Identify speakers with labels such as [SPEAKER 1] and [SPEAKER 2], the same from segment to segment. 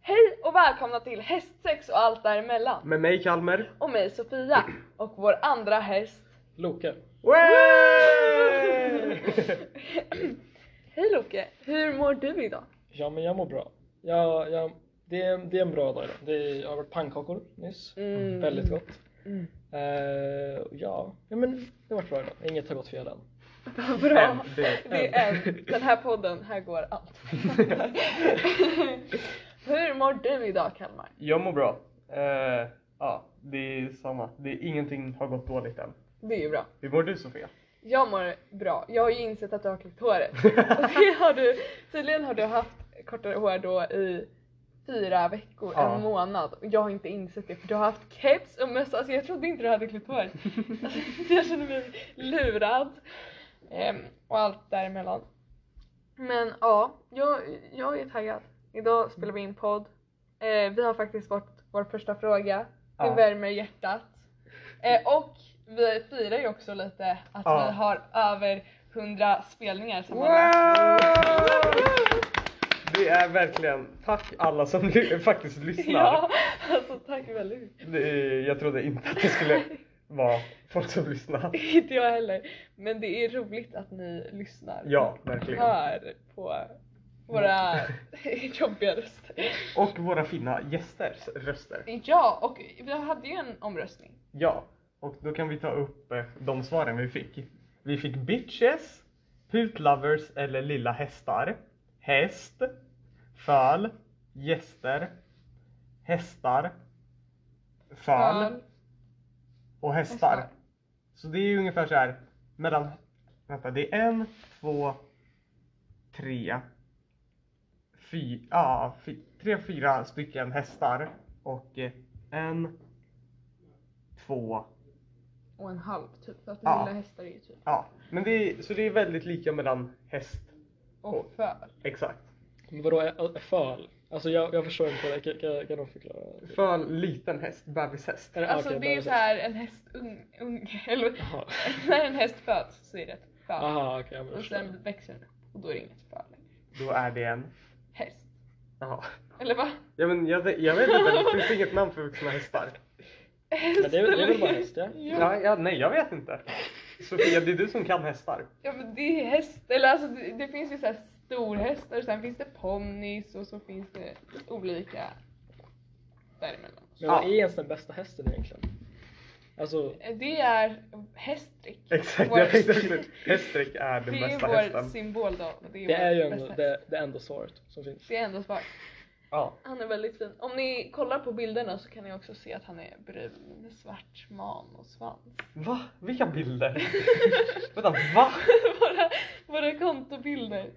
[SPEAKER 1] Hej och välkomna till hästsex och allt däremellan
[SPEAKER 2] Med mig Kalmer.
[SPEAKER 1] och mig Sofia och vår andra häst.
[SPEAKER 3] Loke.
[SPEAKER 1] Hej Loke, hur mår du idag?
[SPEAKER 3] Ja men jag mår bra. Jag, jag, det, är, det är en bra dag idag. Det är, jag har varit pannkakor nyss.
[SPEAKER 1] Mm.
[SPEAKER 3] Väldigt gott.
[SPEAKER 1] Mm.
[SPEAKER 3] Eh, ja. ja men det har varit bra idag. Inget har gått fel än.
[SPEAKER 1] Vad Bra.
[SPEAKER 2] Det-
[SPEAKER 1] Det är en. Den här podden, här går allt. Hur mår du idag Kalmar?
[SPEAKER 2] Jag mår bra. Eh, ja, det är samma. Det är, ingenting har gått dåligt än.
[SPEAKER 1] Det är ju bra.
[SPEAKER 2] Hur mår du Sofia?
[SPEAKER 1] Jag mår bra. Jag har ju insett att du har klippt håret. Och det har du, tydligen har du haft kortare hår då i fyra veckor,
[SPEAKER 2] Ja.
[SPEAKER 1] en månad. Och jag har inte insett det för du har haft keps och mössa. Alltså jag trodde inte du hade klippt håret. Alltså, jag känner mig lurad. Ehm, och allt däremellan. Men ja, jag, jag är taggad. Idag spelar vi in podd. Eh, vi har faktiskt fått vår första fråga. Det
[SPEAKER 2] Ja.
[SPEAKER 1] värmer hjärtat. Eh, och vi firar ju också lite att
[SPEAKER 2] Ja.
[SPEAKER 1] vi har över 100 spelningar
[SPEAKER 2] Det är verkligen, tack alla som ly- faktiskt lyssnar.
[SPEAKER 1] Ja, alltså tack väldigt mycket.
[SPEAKER 2] Det är, jag trodde inte att det skulle vara folk som lyssnar.
[SPEAKER 1] Inte jag heller. Men det är roligt att ni lyssnar.
[SPEAKER 2] Ja, verkligen.
[SPEAKER 1] Hör på våra jobbiga röster.
[SPEAKER 2] Och våra fina gästers röster.
[SPEAKER 1] Ja, och vi hade ju en omröstning.
[SPEAKER 2] Ja, och då kan vi ta upp eh, de svaren vi fick. Vi fick bitches, putlovers eller lilla hästar, häst, föl, gäster, hästar, föl och hästar.
[SPEAKER 1] Hästar.
[SPEAKER 2] Så det är ju ungefär så här mellan, vänta, det är en, två, tre, fy, ja, fy, tre, fyra stycken hästar och eh, en, två,
[SPEAKER 1] Och en halv typ, för att
[SPEAKER 2] Ja.
[SPEAKER 1] lilla hästar är ju typ.
[SPEAKER 2] Ja, men det är, så det är väldigt lika mellan häst,
[SPEAKER 1] Och
[SPEAKER 2] Och-
[SPEAKER 1] föl.
[SPEAKER 2] exakt.
[SPEAKER 3] Men vadå ä- ä- föl? Alltså jag, jag förstår inte. det. Kan, kan, kan de förklara?
[SPEAKER 2] För liten häst, bebishäst.
[SPEAKER 3] Är det-
[SPEAKER 1] Alltså
[SPEAKER 3] okej,
[SPEAKER 1] det är ju
[SPEAKER 3] bebis.
[SPEAKER 1] såhär en häst ung, ung eller
[SPEAKER 3] Jaha.
[SPEAKER 1] när en häst föds så är det ett föl.
[SPEAKER 3] Aha, okej. jag
[SPEAKER 1] Och
[SPEAKER 3] förstår.
[SPEAKER 1] sen växer den upp och då är det inget föl längre.
[SPEAKER 2] Då är det en...
[SPEAKER 1] Häst.
[SPEAKER 2] Jaha.
[SPEAKER 1] Eller va?
[SPEAKER 2] Ja men jag, jag vet inte, det finns inget namn för vuxna hästar.
[SPEAKER 1] Häst
[SPEAKER 3] Men det är, väl- det är väl bara
[SPEAKER 1] eller-
[SPEAKER 3] häst ja?
[SPEAKER 2] Ja, ja, nej jag vet inte. Sofia, det är du som kan hästar.
[SPEAKER 1] Ja men det är häst, eller alltså det, det finns ju såhär storhästar och sen finns det ponnis och så finns det olika däremellan.
[SPEAKER 3] Men vad
[SPEAKER 2] Ja.
[SPEAKER 3] är ens den bästa hästen egentligen? Alltså,
[SPEAKER 1] Det är hästdräkt.
[SPEAKER 2] Exakt,
[SPEAKER 1] Vår-
[SPEAKER 2] jag tänkte precis. Häststreck är den
[SPEAKER 1] Det är ju
[SPEAKER 2] bästa
[SPEAKER 1] vår
[SPEAKER 2] hästen.
[SPEAKER 1] symbol då. och Det är,
[SPEAKER 3] det är
[SPEAKER 1] vår
[SPEAKER 3] ju
[SPEAKER 1] bästa
[SPEAKER 3] ändå
[SPEAKER 1] häst.
[SPEAKER 3] det, det enda svaret som finns.
[SPEAKER 1] Det är ändå svart.
[SPEAKER 2] Ja.
[SPEAKER 1] Han är väldigt fin. Om ni kollar på bilderna så kan ni också se att han är brun, svart man och svans.
[SPEAKER 2] Va? Vilka bilder? Vänta, va?
[SPEAKER 1] våra, våra kontobilder.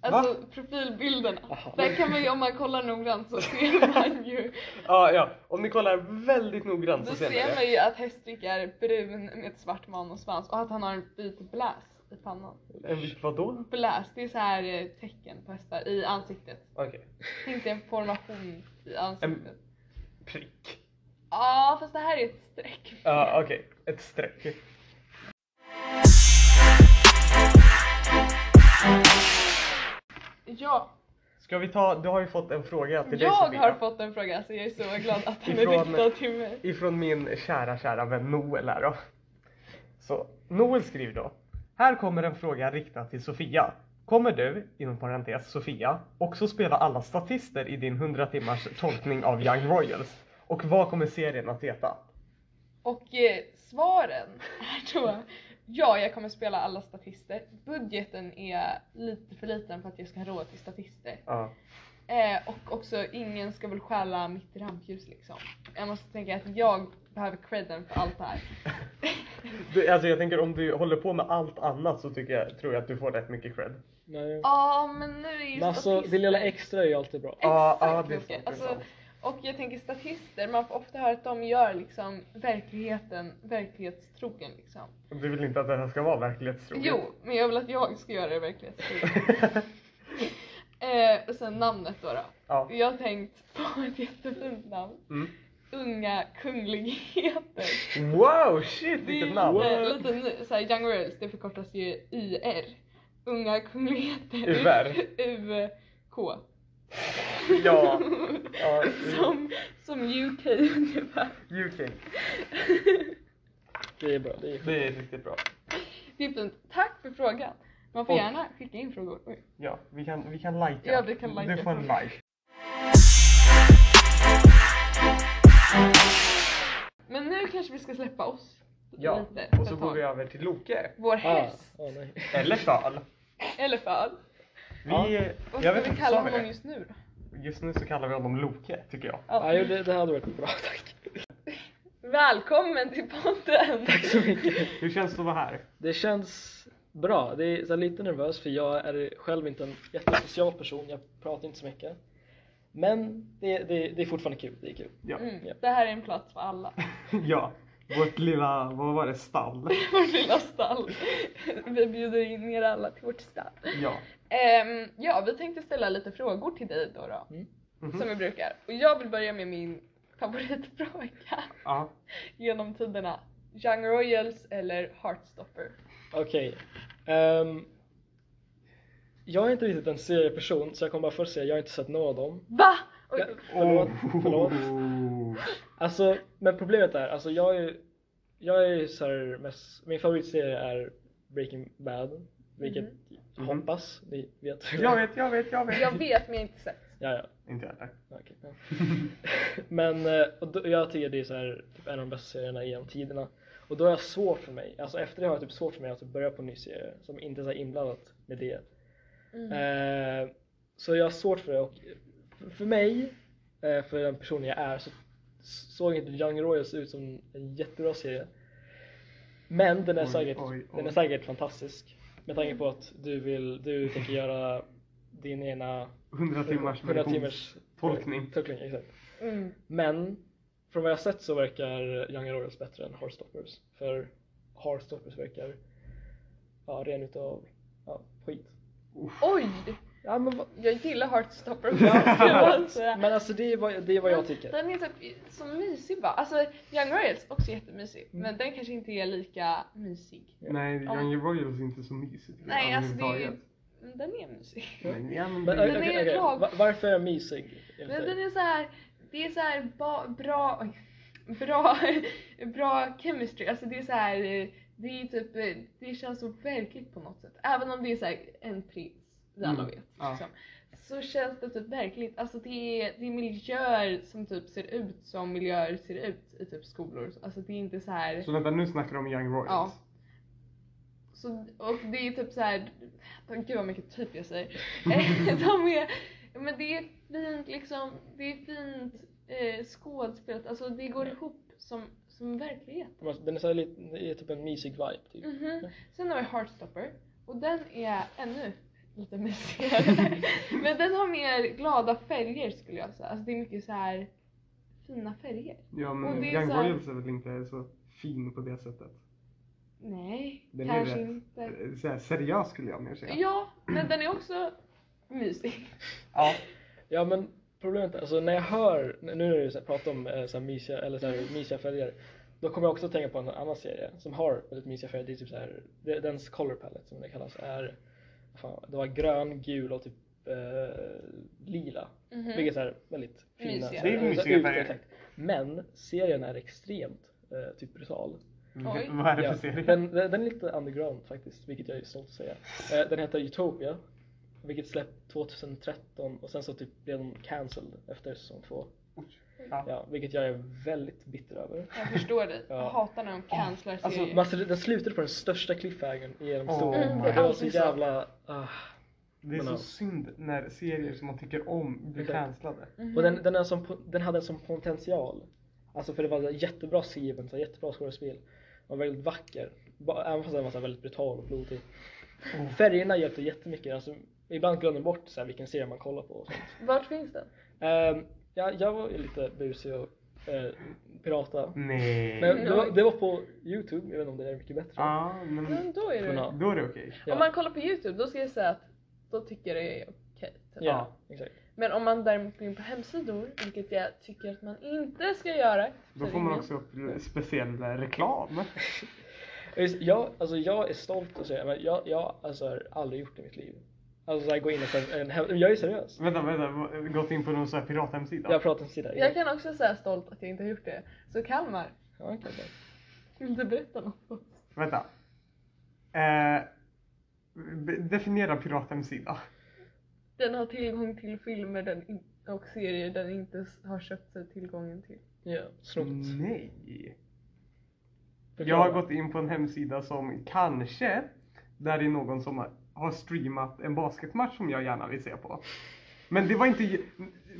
[SPEAKER 1] Alltså profilbilderna.
[SPEAKER 3] Aha.
[SPEAKER 1] Där kan man ju, om man kollar noggrant så ser man ju,
[SPEAKER 2] Ja, ja. Om ni kollar väldigt noggrant
[SPEAKER 1] då
[SPEAKER 2] så ser ni
[SPEAKER 1] ser
[SPEAKER 2] det.
[SPEAKER 1] man ju att Hästrik är brun med ett svart man och svans och att han har en vit bläs i pannan.
[SPEAKER 2] En bit vadå?
[SPEAKER 1] Bläs, det är så här eh, tecken på hästar i ansiktet.
[SPEAKER 2] Okej.
[SPEAKER 1] Inte en formation i ansiktet.
[SPEAKER 2] En- Prick.
[SPEAKER 1] Ja, fast det här är ett streck.
[SPEAKER 2] Ja, okej. Ett streck.
[SPEAKER 1] Ja,
[SPEAKER 2] Ska vi ta, du har ju fått en fråga till dig
[SPEAKER 1] jag
[SPEAKER 2] Sofia.
[SPEAKER 1] har fått en fråga så jag är så glad att den är
[SPEAKER 2] Ifrån-
[SPEAKER 1] riktad till mig.
[SPEAKER 2] Ifrån min kära, kära vän Noel här då. Så, Noel skriver då. Här kommer en fråga riktad till Sofia. Kommer du, inom parentes Sofia, också spela alla statister i din 100 timmars tolkning av Young Royals? Och vad kommer serien att heta?
[SPEAKER 1] Och eh, svaren är då ja, jag kommer spela alla statister. Budgeten är lite för liten för att jag ska ha råd till statister.
[SPEAKER 2] Ja.
[SPEAKER 1] Eh, och också ingen ska väl stjäla mitt rampljus liksom. Jag måste tänka att jag behöver credden för allt det här.
[SPEAKER 2] Du, alltså jag tänker om du håller på med allt annat så tycker jag, tror jag att du får rätt mycket cred.
[SPEAKER 3] Nej.
[SPEAKER 1] Ja, men nu är ju
[SPEAKER 3] Men alltså det
[SPEAKER 1] statister-
[SPEAKER 3] lilla extra är ju alltid bra.
[SPEAKER 2] Ja, ja,
[SPEAKER 1] Exakt
[SPEAKER 2] det
[SPEAKER 1] Loke.
[SPEAKER 2] är sant, det är
[SPEAKER 1] alltså,
[SPEAKER 2] sant.
[SPEAKER 1] Och jag tänker statister, man får ofta höra att de gör liksom verkligheten verklighetstrogen liksom.
[SPEAKER 2] Du vill inte att det här ska vara verklighetstroget?
[SPEAKER 1] Jo, men jag vill att jag ska göra det verklighetstrogen. Eh, och sen namnet då, då.
[SPEAKER 2] ja.
[SPEAKER 1] Jag har tänkt på ett jättefint namn.
[SPEAKER 2] Mm.
[SPEAKER 1] unga kungligheter.
[SPEAKER 2] Wow, shit
[SPEAKER 1] Det är
[SPEAKER 2] vilket namn!
[SPEAKER 1] lite, lite ny- såhär, Young Royals, det förkortas ju IR. Unga kungligheter.
[SPEAKER 2] UR.
[SPEAKER 1] UK.
[SPEAKER 2] Ja, ja
[SPEAKER 1] Som, som UK ungefär.
[SPEAKER 2] UK.
[SPEAKER 3] Det är bra. Det är
[SPEAKER 2] Det är riktigt bra.
[SPEAKER 1] Det är fint. Tack för frågan. Man får
[SPEAKER 2] Och-
[SPEAKER 1] gärna skicka in frågor. Oj.
[SPEAKER 2] Ja, vi kan, vi kan likea.
[SPEAKER 1] Ja, vi kan likea.
[SPEAKER 2] Du får en like.
[SPEAKER 1] Men nu kanske vi ska släppa oss.
[SPEAKER 2] Ja,
[SPEAKER 1] lite
[SPEAKER 2] och
[SPEAKER 1] för
[SPEAKER 2] så
[SPEAKER 1] ett
[SPEAKER 2] går
[SPEAKER 1] tag.
[SPEAKER 2] vi över till Loke.
[SPEAKER 1] Vår
[SPEAKER 3] Ah,
[SPEAKER 1] häst.
[SPEAKER 3] ah, nej.
[SPEAKER 2] Eller Fal.
[SPEAKER 1] Eller fan.
[SPEAKER 2] Vi,
[SPEAKER 1] Vad
[SPEAKER 2] jag
[SPEAKER 1] ska
[SPEAKER 2] vet
[SPEAKER 1] vi
[SPEAKER 2] inte,
[SPEAKER 1] kalla
[SPEAKER 2] sa vi
[SPEAKER 1] honom
[SPEAKER 2] det?
[SPEAKER 1] just nu då?
[SPEAKER 2] Just nu så kallar vi honom Loke, tycker jag.
[SPEAKER 1] Ja.
[SPEAKER 3] Ah, jo, det, det hade varit bra, tack.
[SPEAKER 1] Välkommen till podden!
[SPEAKER 3] Tack så mycket.
[SPEAKER 2] Hur känns det att vara här?
[SPEAKER 3] Det känns bra. Det är så här lite nervös för jag är själv inte en jättesocial person. Jag pratar inte så mycket. Men det, det, det är fortfarande kul. Det är kul.
[SPEAKER 2] Ja.
[SPEAKER 1] Mm,
[SPEAKER 3] Ja.
[SPEAKER 1] det här är en plats för alla.
[SPEAKER 2] ja. Vårt lilla, vad var det, stall?
[SPEAKER 1] Vårt lilla stall. Vi bjuder in er alla till vårt stall.
[SPEAKER 2] Ja.
[SPEAKER 1] Ehm, ja, vi tänkte ställa lite frågor till dig då, då
[SPEAKER 2] Mhm.
[SPEAKER 1] som vi brukar. Och jag vill börja med min favoritfråga
[SPEAKER 2] ja.
[SPEAKER 1] genom tiderna. Young Royals eller Heartstopper?
[SPEAKER 3] Okej. Ehm, jag är inte riktigt en serieperson så jag kommer bara först säga jag har inte sett någon av dem.
[SPEAKER 1] Va? Oj.
[SPEAKER 3] Ja, förlåt,
[SPEAKER 2] Oh.
[SPEAKER 3] förlåt. Alltså, men problemet är, alltså jag är ju- jag är ju så här mest, min favoritserie är Breaking Bad, vilket
[SPEAKER 1] Mhm.
[SPEAKER 3] jag hoppas ni vet.
[SPEAKER 2] Jag vet, jag vet, jag vet.
[SPEAKER 1] Jag vet men jag har inte sett.
[SPEAKER 3] Ja, ja.
[SPEAKER 2] Inte jag heller.
[SPEAKER 3] Okej. ja. Men eh, och då, jag tycker det är så här, typ en av de bästa serierna genom tiderna. Och då är jag svårt för mig, alltså efter det har jag typ svårt för mig att typ börja på en ny serie som inte är så här inblandat med det.
[SPEAKER 1] Mm.
[SPEAKER 3] Eh, så jag har svårt för det och för- för mig, eh, för den personen jag är, så såg inte Young Royals ut som en jättebra serie. Men den är,
[SPEAKER 2] Oj,
[SPEAKER 3] säkert,
[SPEAKER 2] oj,
[SPEAKER 3] Den är
[SPEAKER 2] oj.
[SPEAKER 3] säkert fantastisk. Med tanke på att du, vill, du tänker göra din ena
[SPEAKER 2] 100 timmars
[SPEAKER 3] 100 timmars
[SPEAKER 2] tolkning.
[SPEAKER 3] Eh, tolkning exakt.
[SPEAKER 1] Mm.
[SPEAKER 3] Men från vad jag sett så verkar Young Royals bättre än Heartstoppers. För Heartstoppers verkar ja, ren utav ja, skit.
[SPEAKER 1] Oj!
[SPEAKER 3] Ja, men, vad-
[SPEAKER 1] Jag gillar Heartstopper.
[SPEAKER 2] Ja,
[SPEAKER 1] skulle jag säga.
[SPEAKER 3] men alltså det är, vad, det är vad jag tycker.
[SPEAKER 1] Den är typ så mysig bara. Alltså Young Royals också jättemysig.
[SPEAKER 3] Mm.
[SPEAKER 1] Men den kanske inte är lika mysig.
[SPEAKER 2] Nej,
[SPEAKER 1] Ja.
[SPEAKER 2] Young Royals är inte så mysigt.
[SPEAKER 1] Nej alltså det är ju...
[SPEAKER 2] överhuvudtaget.
[SPEAKER 1] men Den är mysig.
[SPEAKER 2] Men, ja, men,
[SPEAKER 3] Men,
[SPEAKER 2] det-
[SPEAKER 3] okej,
[SPEAKER 1] den är
[SPEAKER 3] okej, okej.
[SPEAKER 1] lag-
[SPEAKER 3] Va- Varför är jag mysig? enligt
[SPEAKER 1] Men
[SPEAKER 3] dig?
[SPEAKER 1] den är så här, det är så här ba, bra, oj, bra, bra chemistry. Alltså det är så här, eh, det är typ, eh, det känns så verkligt på något sätt. Även om det är så här en prins, vi alla
[SPEAKER 2] Mm,
[SPEAKER 1] vet.
[SPEAKER 2] ja.
[SPEAKER 1] Liksom, så känns det typ verkligt. Alltså det är, det är miljöer som typ ser ut som miljöer ser ut i typ skolor. Alltså det är inte så här.
[SPEAKER 2] Så vänta, nu snackar de om Young Royals.
[SPEAKER 1] Ja. Så, och det är typ så här, gud vad mycket typ jag säger. Eh, De är, men det är fint liksom, det är fint eh, skådespelat, alltså det går ihop som, som verklighet.
[SPEAKER 3] Den är, så här, lite- det är typ en mysig vibe. Typ.
[SPEAKER 1] Mhm. Sen har vi Heartstopper och den är ännu lite mysigare. men den har mer glada färger skulle jag säga, alltså det är mycket så här fina färger.
[SPEAKER 2] Ja,
[SPEAKER 1] Och
[SPEAKER 2] men
[SPEAKER 1] det är
[SPEAKER 2] Young
[SPEAKER 1] så här-
[SPEAKER 2] Royals är väl inte så fin på det sättet.
[SPEAKER 1] Nej,
[SPEAKER 2] Den är
[SPEAKER 1] kanske
[SPEAKER 2] rätt-
[SPEAKER 1] inte.
[SPEAKER 2] Eh, Så här, seriös skulle jag mer säga.
[SPEAKER 1] Ja, men den är också mysig.
[SPEAKER 2] Ja.
[SPEAKER 3] Ja men problemet är, alltså när jag hör, nu när du så här pratar om eh, så här mysiga, eller så här, mysiga färger, då kommer jag också att tänka på en annan serie som har väldigt mysiga färger, det är typ så här, det- dens color palette som det kallas är, vad fan, det var grön, gul och typ eh, lila.
[SPEAKER 1] Mhm.
[SPEAKER 3] Vilket är väldigt fina.
[SPEAKER 1] Mysiga.
[SPEAKER 3] så här,
[SPEAKER 2] Det är
[SPEAKER 3] så här
[SPEAKER 2] mysiga
[SPEAKER 3] ut-
[SPEAKER 2] färger.
[SPEAKER 3] exakt. Men serien är extremt eh, typ brutal.
[SPEAKER 1] Oj.
[SPEAKER 2] Vad är det
[SPEAKER 3] Ja,
[SPEAKER 2] för serie?
[SPEAKER 3] Den, den den är lite underground faktiskt, vilket jag är stolt att säga. Eh, Den heter Utopia, vilket släpptes 2013 och sen så typ blev den cancelled efter säsong två.
[SPEAKER 2] Ja.
[SPEAKER 3] Ja, vilket jag är väldigt bitter över.
[SPEAKER 1] Jag förstår dig.
[SPEAKER 3] Ja.
[SPEAKER 1] Jag hatar när de cancelar serier.
[SPEAKER 3] Alltså, man, ser- den slutade på den största cliffhangern i hela
[SPEAKER 2] Oh
[SPEAKER 3] historien.
[SPEAKER 2] my
[SPEAKER 3] och det var så
[SPEAKER 1] alltid så.
[SPEAKER 3] jävla... ah.
[SPEAKER 2] Det är
[SPEAKER 3] Men
[SPEAKER 2] så
[SPEAKER 3] ja.
[SPEAKER 2] synd när serier som man tycker om blir
[SPEAKER 3] Exakt.
[SPEAKER 2] cancellade.
[SPEAKER 1] Mhm.
[SPEAKER 3] Och den, den, är som, den hade en sån potential. Alltså för det var en jättebra skriven, så här jättebra skådespel. Den var väldigt vacker. Ba- Även fast den var så här väldigt brutal och blodig.
[SPEAKER 2] Oh.
[SPEAKER 3] Färgerna hjälpte jättemycket. Alltså, ibland glömde man bort så här, vilken serie man kollar på. Och sånt.
[SPEAKER 1] Vart finns den?
[SPEAKER 3] Ehm, ja, jag var ju lite busig och eh, pirata.
[SPEAKER 2] Mm. Nej.
[SPEAKER 3] Men det var, det var på Youtube, jag vet inte om det är mycket bättre.
[SPEAKER 2] Ja, men
[SPEAKER 1] Men då är
[SPEAKER 3] Men
[SPEAKER 1] det...
[SPEAKER 3] ja.
[SPEAKER 2] då är det okej.
[SPEAKER 3] Ja,
[SPEAKER 1] Om man kollar på youtube då ska jag säga att då tycker jag det är okej. typ.
[SPEAKER 3] ja, exakt.
[SPEAKER 1] Men om man däremot går in på hemsidor, vilket jag tycker att man inte ska göra.
[SPEAKER 2] Då
[SPEAKER 1] så
[SPEAKER 2] får man
[SPEAKER 1] ingen-
[SPEAKER 2] också upp speciell eh, reklam.
[SPEAKER 3] Just, Jag, alltså jag är stolt att säga, men jag, jag alltså, har aldrig gjort det i mitt liv. Alltså såhär gå in på en, en hem- jag är seriös.
[SPEAKER 2] Vänta, vänta, gått in på någon sån här pirathemsida?
[SPEAKER 3] Jag pratar inte där.
[SPEAKER 1] Jag kan också säga stolt att jag inte har gjort det. Så Kalmar,
[SPEAKER 3] Ja, okej, okej.
[SPEAKER 1] vill du berätta något?
[SPEAKER 2] Vänta. Eh, be- definiera pirathemsida.
[SPEAKER 1] Den har tillgång till filmer den in- och serier den inte s- har köpt sig tillgången till.
[SPEAKER 3] Ja, snott.
[SPEAKER 2] Nej. Jag
[SPEAKER 3] Förklara.
[SPEAKER 2] Mm. har gått in på en hemsida som kanske, där är någon som har- har streamat en basketmatch som jag gärna vill se på. Men det var inte,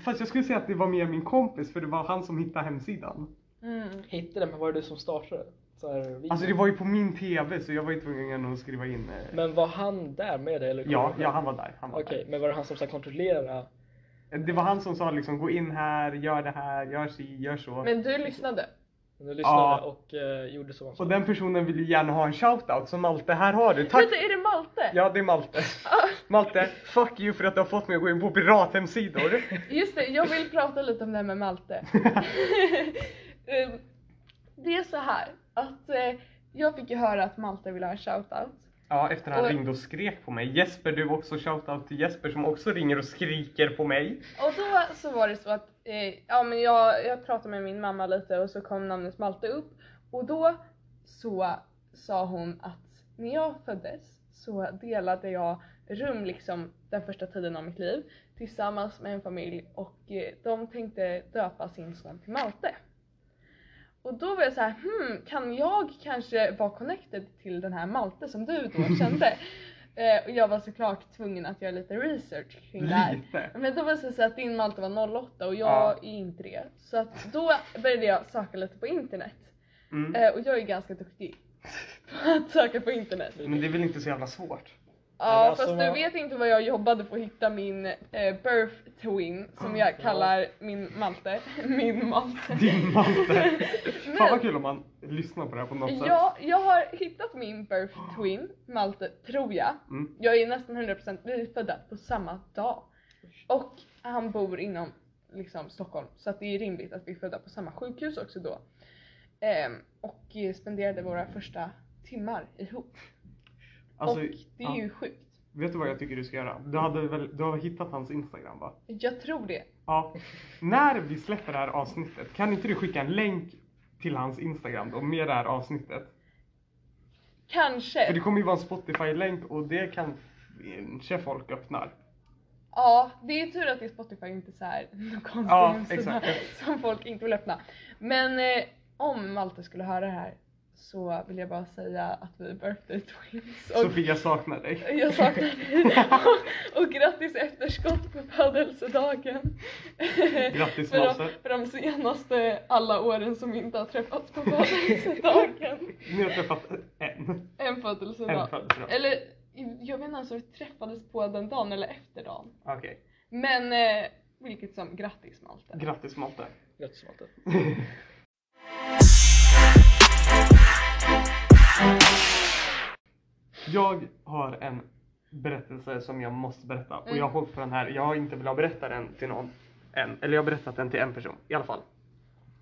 [SPEAKER 2] fast jag skulle säga att det var mer min kompis för det var han som hittade hemsidan.
[SPEAKER 1] Mm.
[SPEAKER 3] Hittade den, men var det du som startade? Så här, vi-
[SPEAKER 2] Alltså det var ju på min TV så jag var ju tvungen att skriva in. eh,
[SPEAKER 3] Men var han där med dig? Eller
[SPEAKER 2] Ja, ja han var där. Han var
[SPEAKER 3] Okej, men var det han som så här kontrollerade?
[SPEAKER 2] där. Det var han som sa liksom gå in här, gör det här, gör si, gör så.
[SPEAKER 1] Men du lyssnade.
[SPEAKER 3] Men Du lyssnade
[SPEAKER 2] Ja.
[SPEAKER 3] och eh, gjorde så han sa.
[SPEAKER 2] Och den personen vill ju gärna ha en shoutout så Malte, här har du. Tack!
[SPEAKER 1] Vänta, är det Malte?
[SPEAKER 2] Ja, det är Malte.
[SPEAKER 1] Ah,
[SPEAKER 2] Malte, fuck you för att du har fått mig att gå in på pirathemsidor.
[SPEAKER 1] just det, jag vill prata lite om det här med Malte. Ehm, det är så här att eh, jag fick ju höra att Malte ville ha en shoutout.
[SPEAKER 2] Ja, efter han
[SPEAKER 1] Och-
[SPEAKER 2] ringde och skrek på mig. Jesper, du också shoutout till Jesper som också ringer och skriker på mig.
[SPEAKER 1] Och då så var det så att eh, ja, men jag, jag pratade med min mamma lite och så kom namnet Malte upp. Och då så sa hon att när jag föddes så delade jag rum liksom den första tiden av mitt liv tillsammans med en familj och eh, de tänkte döpa sin son till Malte. Och då var jag så här, hmm, kan jag kanske vara connected till den här Malte som du då kände? eh, och jag var såklart tvungen att göra lite research kring det här.
[SPEAKER 2] Lite.
[SPEAKER 1] Men då var det så att din Malte var 08 och jag
[SPEAKER 2] Ja.
[SPEAKER 1] är inte det. Så att då började jag söka lite på internet.
[SPEAKER 2] Mm.
[SPEAKER 1] Eh, och jag är ganska duktig på att söka på internet.
[SPEAKER 2] Men det är väl inte så jävla svårt?
[SPEAKER 1] Ja
[SPEAKER 3] Men alltså,
[SPEAKER 1] fast du
[SPEAKER 3] vad-
[SPEAKER 1] vet inte vad jag jobbade på att hitta min eh, birth twin som jag kallar min Malte. Min Malte.
[SPEAKER 2] Din Malte. Fan vad
[SPEAKER 1] Men
[SPEAKER 2] kul om man lyssnar på det här på något sätt.
[SPEAKER 1] jag, jag har hittat min birth twin, Malte, tror jag.
[SPEAKER 2] Mm.
[SPEAKER 1] Jag är nästan 100% vi är födda på samma dag. Och han bor inom liksom, Stockholm så att det är rimligt att vi är födda på samma sjukhus också då. Ehm, och eh, spenderade våra första timmar ihop.
[SPEAKER 2] Alltså,
[SPEAKER 1] och det är
[SPEAKER 2] ja.
[SPEAKER 1] ju sjukt.
[SPEAKER 2] Vet du vad jag tycker du ska göra? Du, hade väl, du har hittat hans Instagram va?
[SPEAKER 1] Jag tror det.
[SPEAKER 2] Ja. När vi släpper det här avsnittet, kan inte du skicka en länk till hans Instagram då, med det här avsnittet? För det
[SPEAKER 1] Kanske.
[SPEAKER 2] kommer ju vara en Spotify-länk och det kan kanske folk öppnar.
[SPEAKER 1] Ja, det är tur att det är Spotify inte så här någon konstig
[SPEAKER 2] Ja,
[SPEAKER 1] hemsida
[SPEAKER 2] exakt.
[SPEAKER 1] som folk inte vill öppna. Men eh, om Malte skulle höra det här så vill jag bara säga att vi är birthday twins. Och
[SPEAKER 2] Sofia saknar dig.
[SPEAKER 1] Jag saknar dig. Och- Och grattis i efterskott på födelsedagen.
[SPEAKER 2] Grattis,
[SPEAKER 1] för, de,
[SPEAKER 2] Malte.
[SPEAKER 1] för de senaste alla åren som vi inte har träffats på födelsedagen.
[SPEAKER 2] Ni har träffat en.
[SPEAKER 1] En
[SPEAKER 2] En
[SPEAKER 1] födelsedag.
[SPEAKER 2] födelsedag.
[SPEAKER 1] Eller jag vet inte ens om vi träffades på den dagen eller efter dagen.
[SPEAKER 2] Okej.
[SPEAKER 1] Men eh, vilket som, grattis Malte.
[SPEAKER 2] Grattis Malte.
[SPEAKER 3] Grattis Malte.
[SPEAKER 2] Jag har en berättelse som jag måste berätta och
[SPEAKER 1] Mm.
[SPEAKER 2] jag har hållit på den här. Jag har inte velat berätta den till någon än. Eller jag har berättat den till en person i alla fall.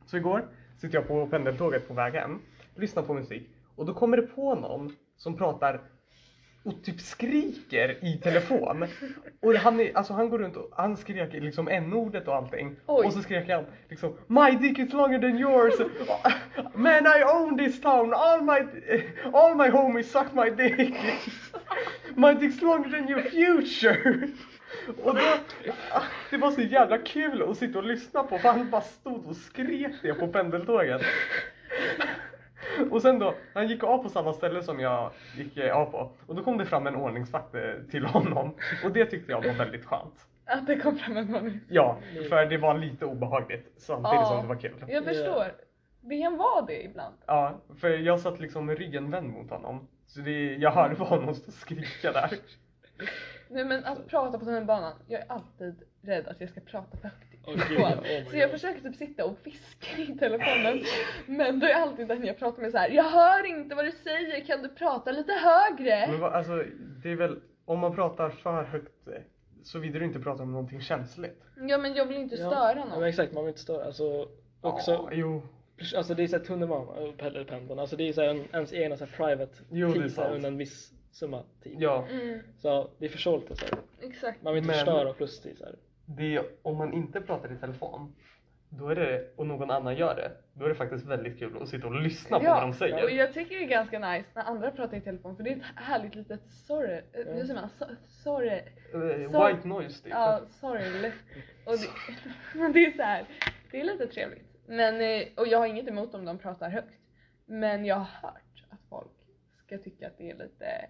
[SPEAKER 2] Så igår sitter jag på pendeltåget på väg hem, lyssnar på musik och då kommer det på någon som pratar och typ skriker i telefon. Och han, är, alltså han går runt och han skrek liksom n-ordet och allting.
[SPEAKER 1] Oj.
[SPEAKER 2] Och så skrek han liksom My dick is longer than yours! Man I own this town! All my, all my homies suck my dick! My dick's longer than your future! Och då, det var så jävla kul att sitta och lyssna på för han bara stod och skrek det på pendeltåget. Och sen då, han gick av på samma ställe som jag gick eh, av på. Och då kom det fram en ordningsvakt eh, till honom. Och det tyckte jag var väldigt skönt.
[SPEAKER 1] Att det kom fram en man.
[SPEAKER 2] Ja, för det var lite obehagligt samtidigt
[SPEAKER 1] Ja.
[SPEAKER 2] som det var kul.
[SPEAKER 1] Jag förstår. Det kan vara det ibland.
[SPEAKER 2] Ja, för jag satt liksom med ryggen vänd mot honom. Så det, jag hörde på honom stå och skrika där.
[SPEAKER 1] Nej men att prata på tunnelbanan, jag är alltid rädd att jag ska prata för högt.
[SPEAKER 3] Åh, gud,
[SPEAKER 1] på.
[SPEAKER 3] ja. Oh my
[SPEAKER 1] så jag
[SPEAKER 3] God.
[SPEAKER 1] försöker typ sitta och fiska i telefonen. Men då är alltid den jag pratar med så här. jag hör inte vad du säger, kan du prata lite högre?
[SPEAKER 2] Men vad, alltså, det är väl, om man pratar för högt eh, Såvida du inte pratar om någonting känsligt.
[SPEAKER 1] Ja men jag vill inte
[SPEAKER 3] Ja,
[SPEAKER 1] störa
[SPEAKER 3] Men
[SPEAKER 1] någon.
[SPEAKER 3] exakt, man vill inte störa. Alltså, också,
[SPEAKER 2] Ja, jo.
[SPEAKER 3] alltså det är såhär tunnelbana, eller pendeln, alltså det är såhär en, ens egna såhär private
[SPEAKER 2] Jo, det är
[SPEAKER 3] tid såhär,
[SPEAKER 2] sant.
[SPEAKER 3] under en viss summa tid.
[SPEAKER 2] Ja.
[SPEAKER 1] Mm,
[SPEAKER 3] Så det är försålt och såhär.
[SPEAKER 1] exakt.
[SPEAKER 3] Man vill inte
[SPEAKER 2] Men-
[SPEAKER 3] förstöra plus till såhär.
[SPEAKER 2] Det är, om man inte pratar i telefon då är det, och någon annan gör det, då är det faktiskt väldigt kul att sitta och lyssna på vad de säger.
[SPEAKER 1] och jag tycker det är ganska nice när andra pratar i telefon för det är ett härligt litet sorry, eh,
[SPEAKER 3] Ja.
[SPEAKER 1] nu säger man so- sorry,
[SPEAKER 2] Eh,
[SPEAKER 1] Så-
[SPEAKER 2] White noise typ.
[SPEAKER 1] ja sorry. Och det, men det är så här, det är lite trevligt. Men, eh, och jag har inget emot om de pratar högt. Men jag har hört att folk ska tycka att det är lite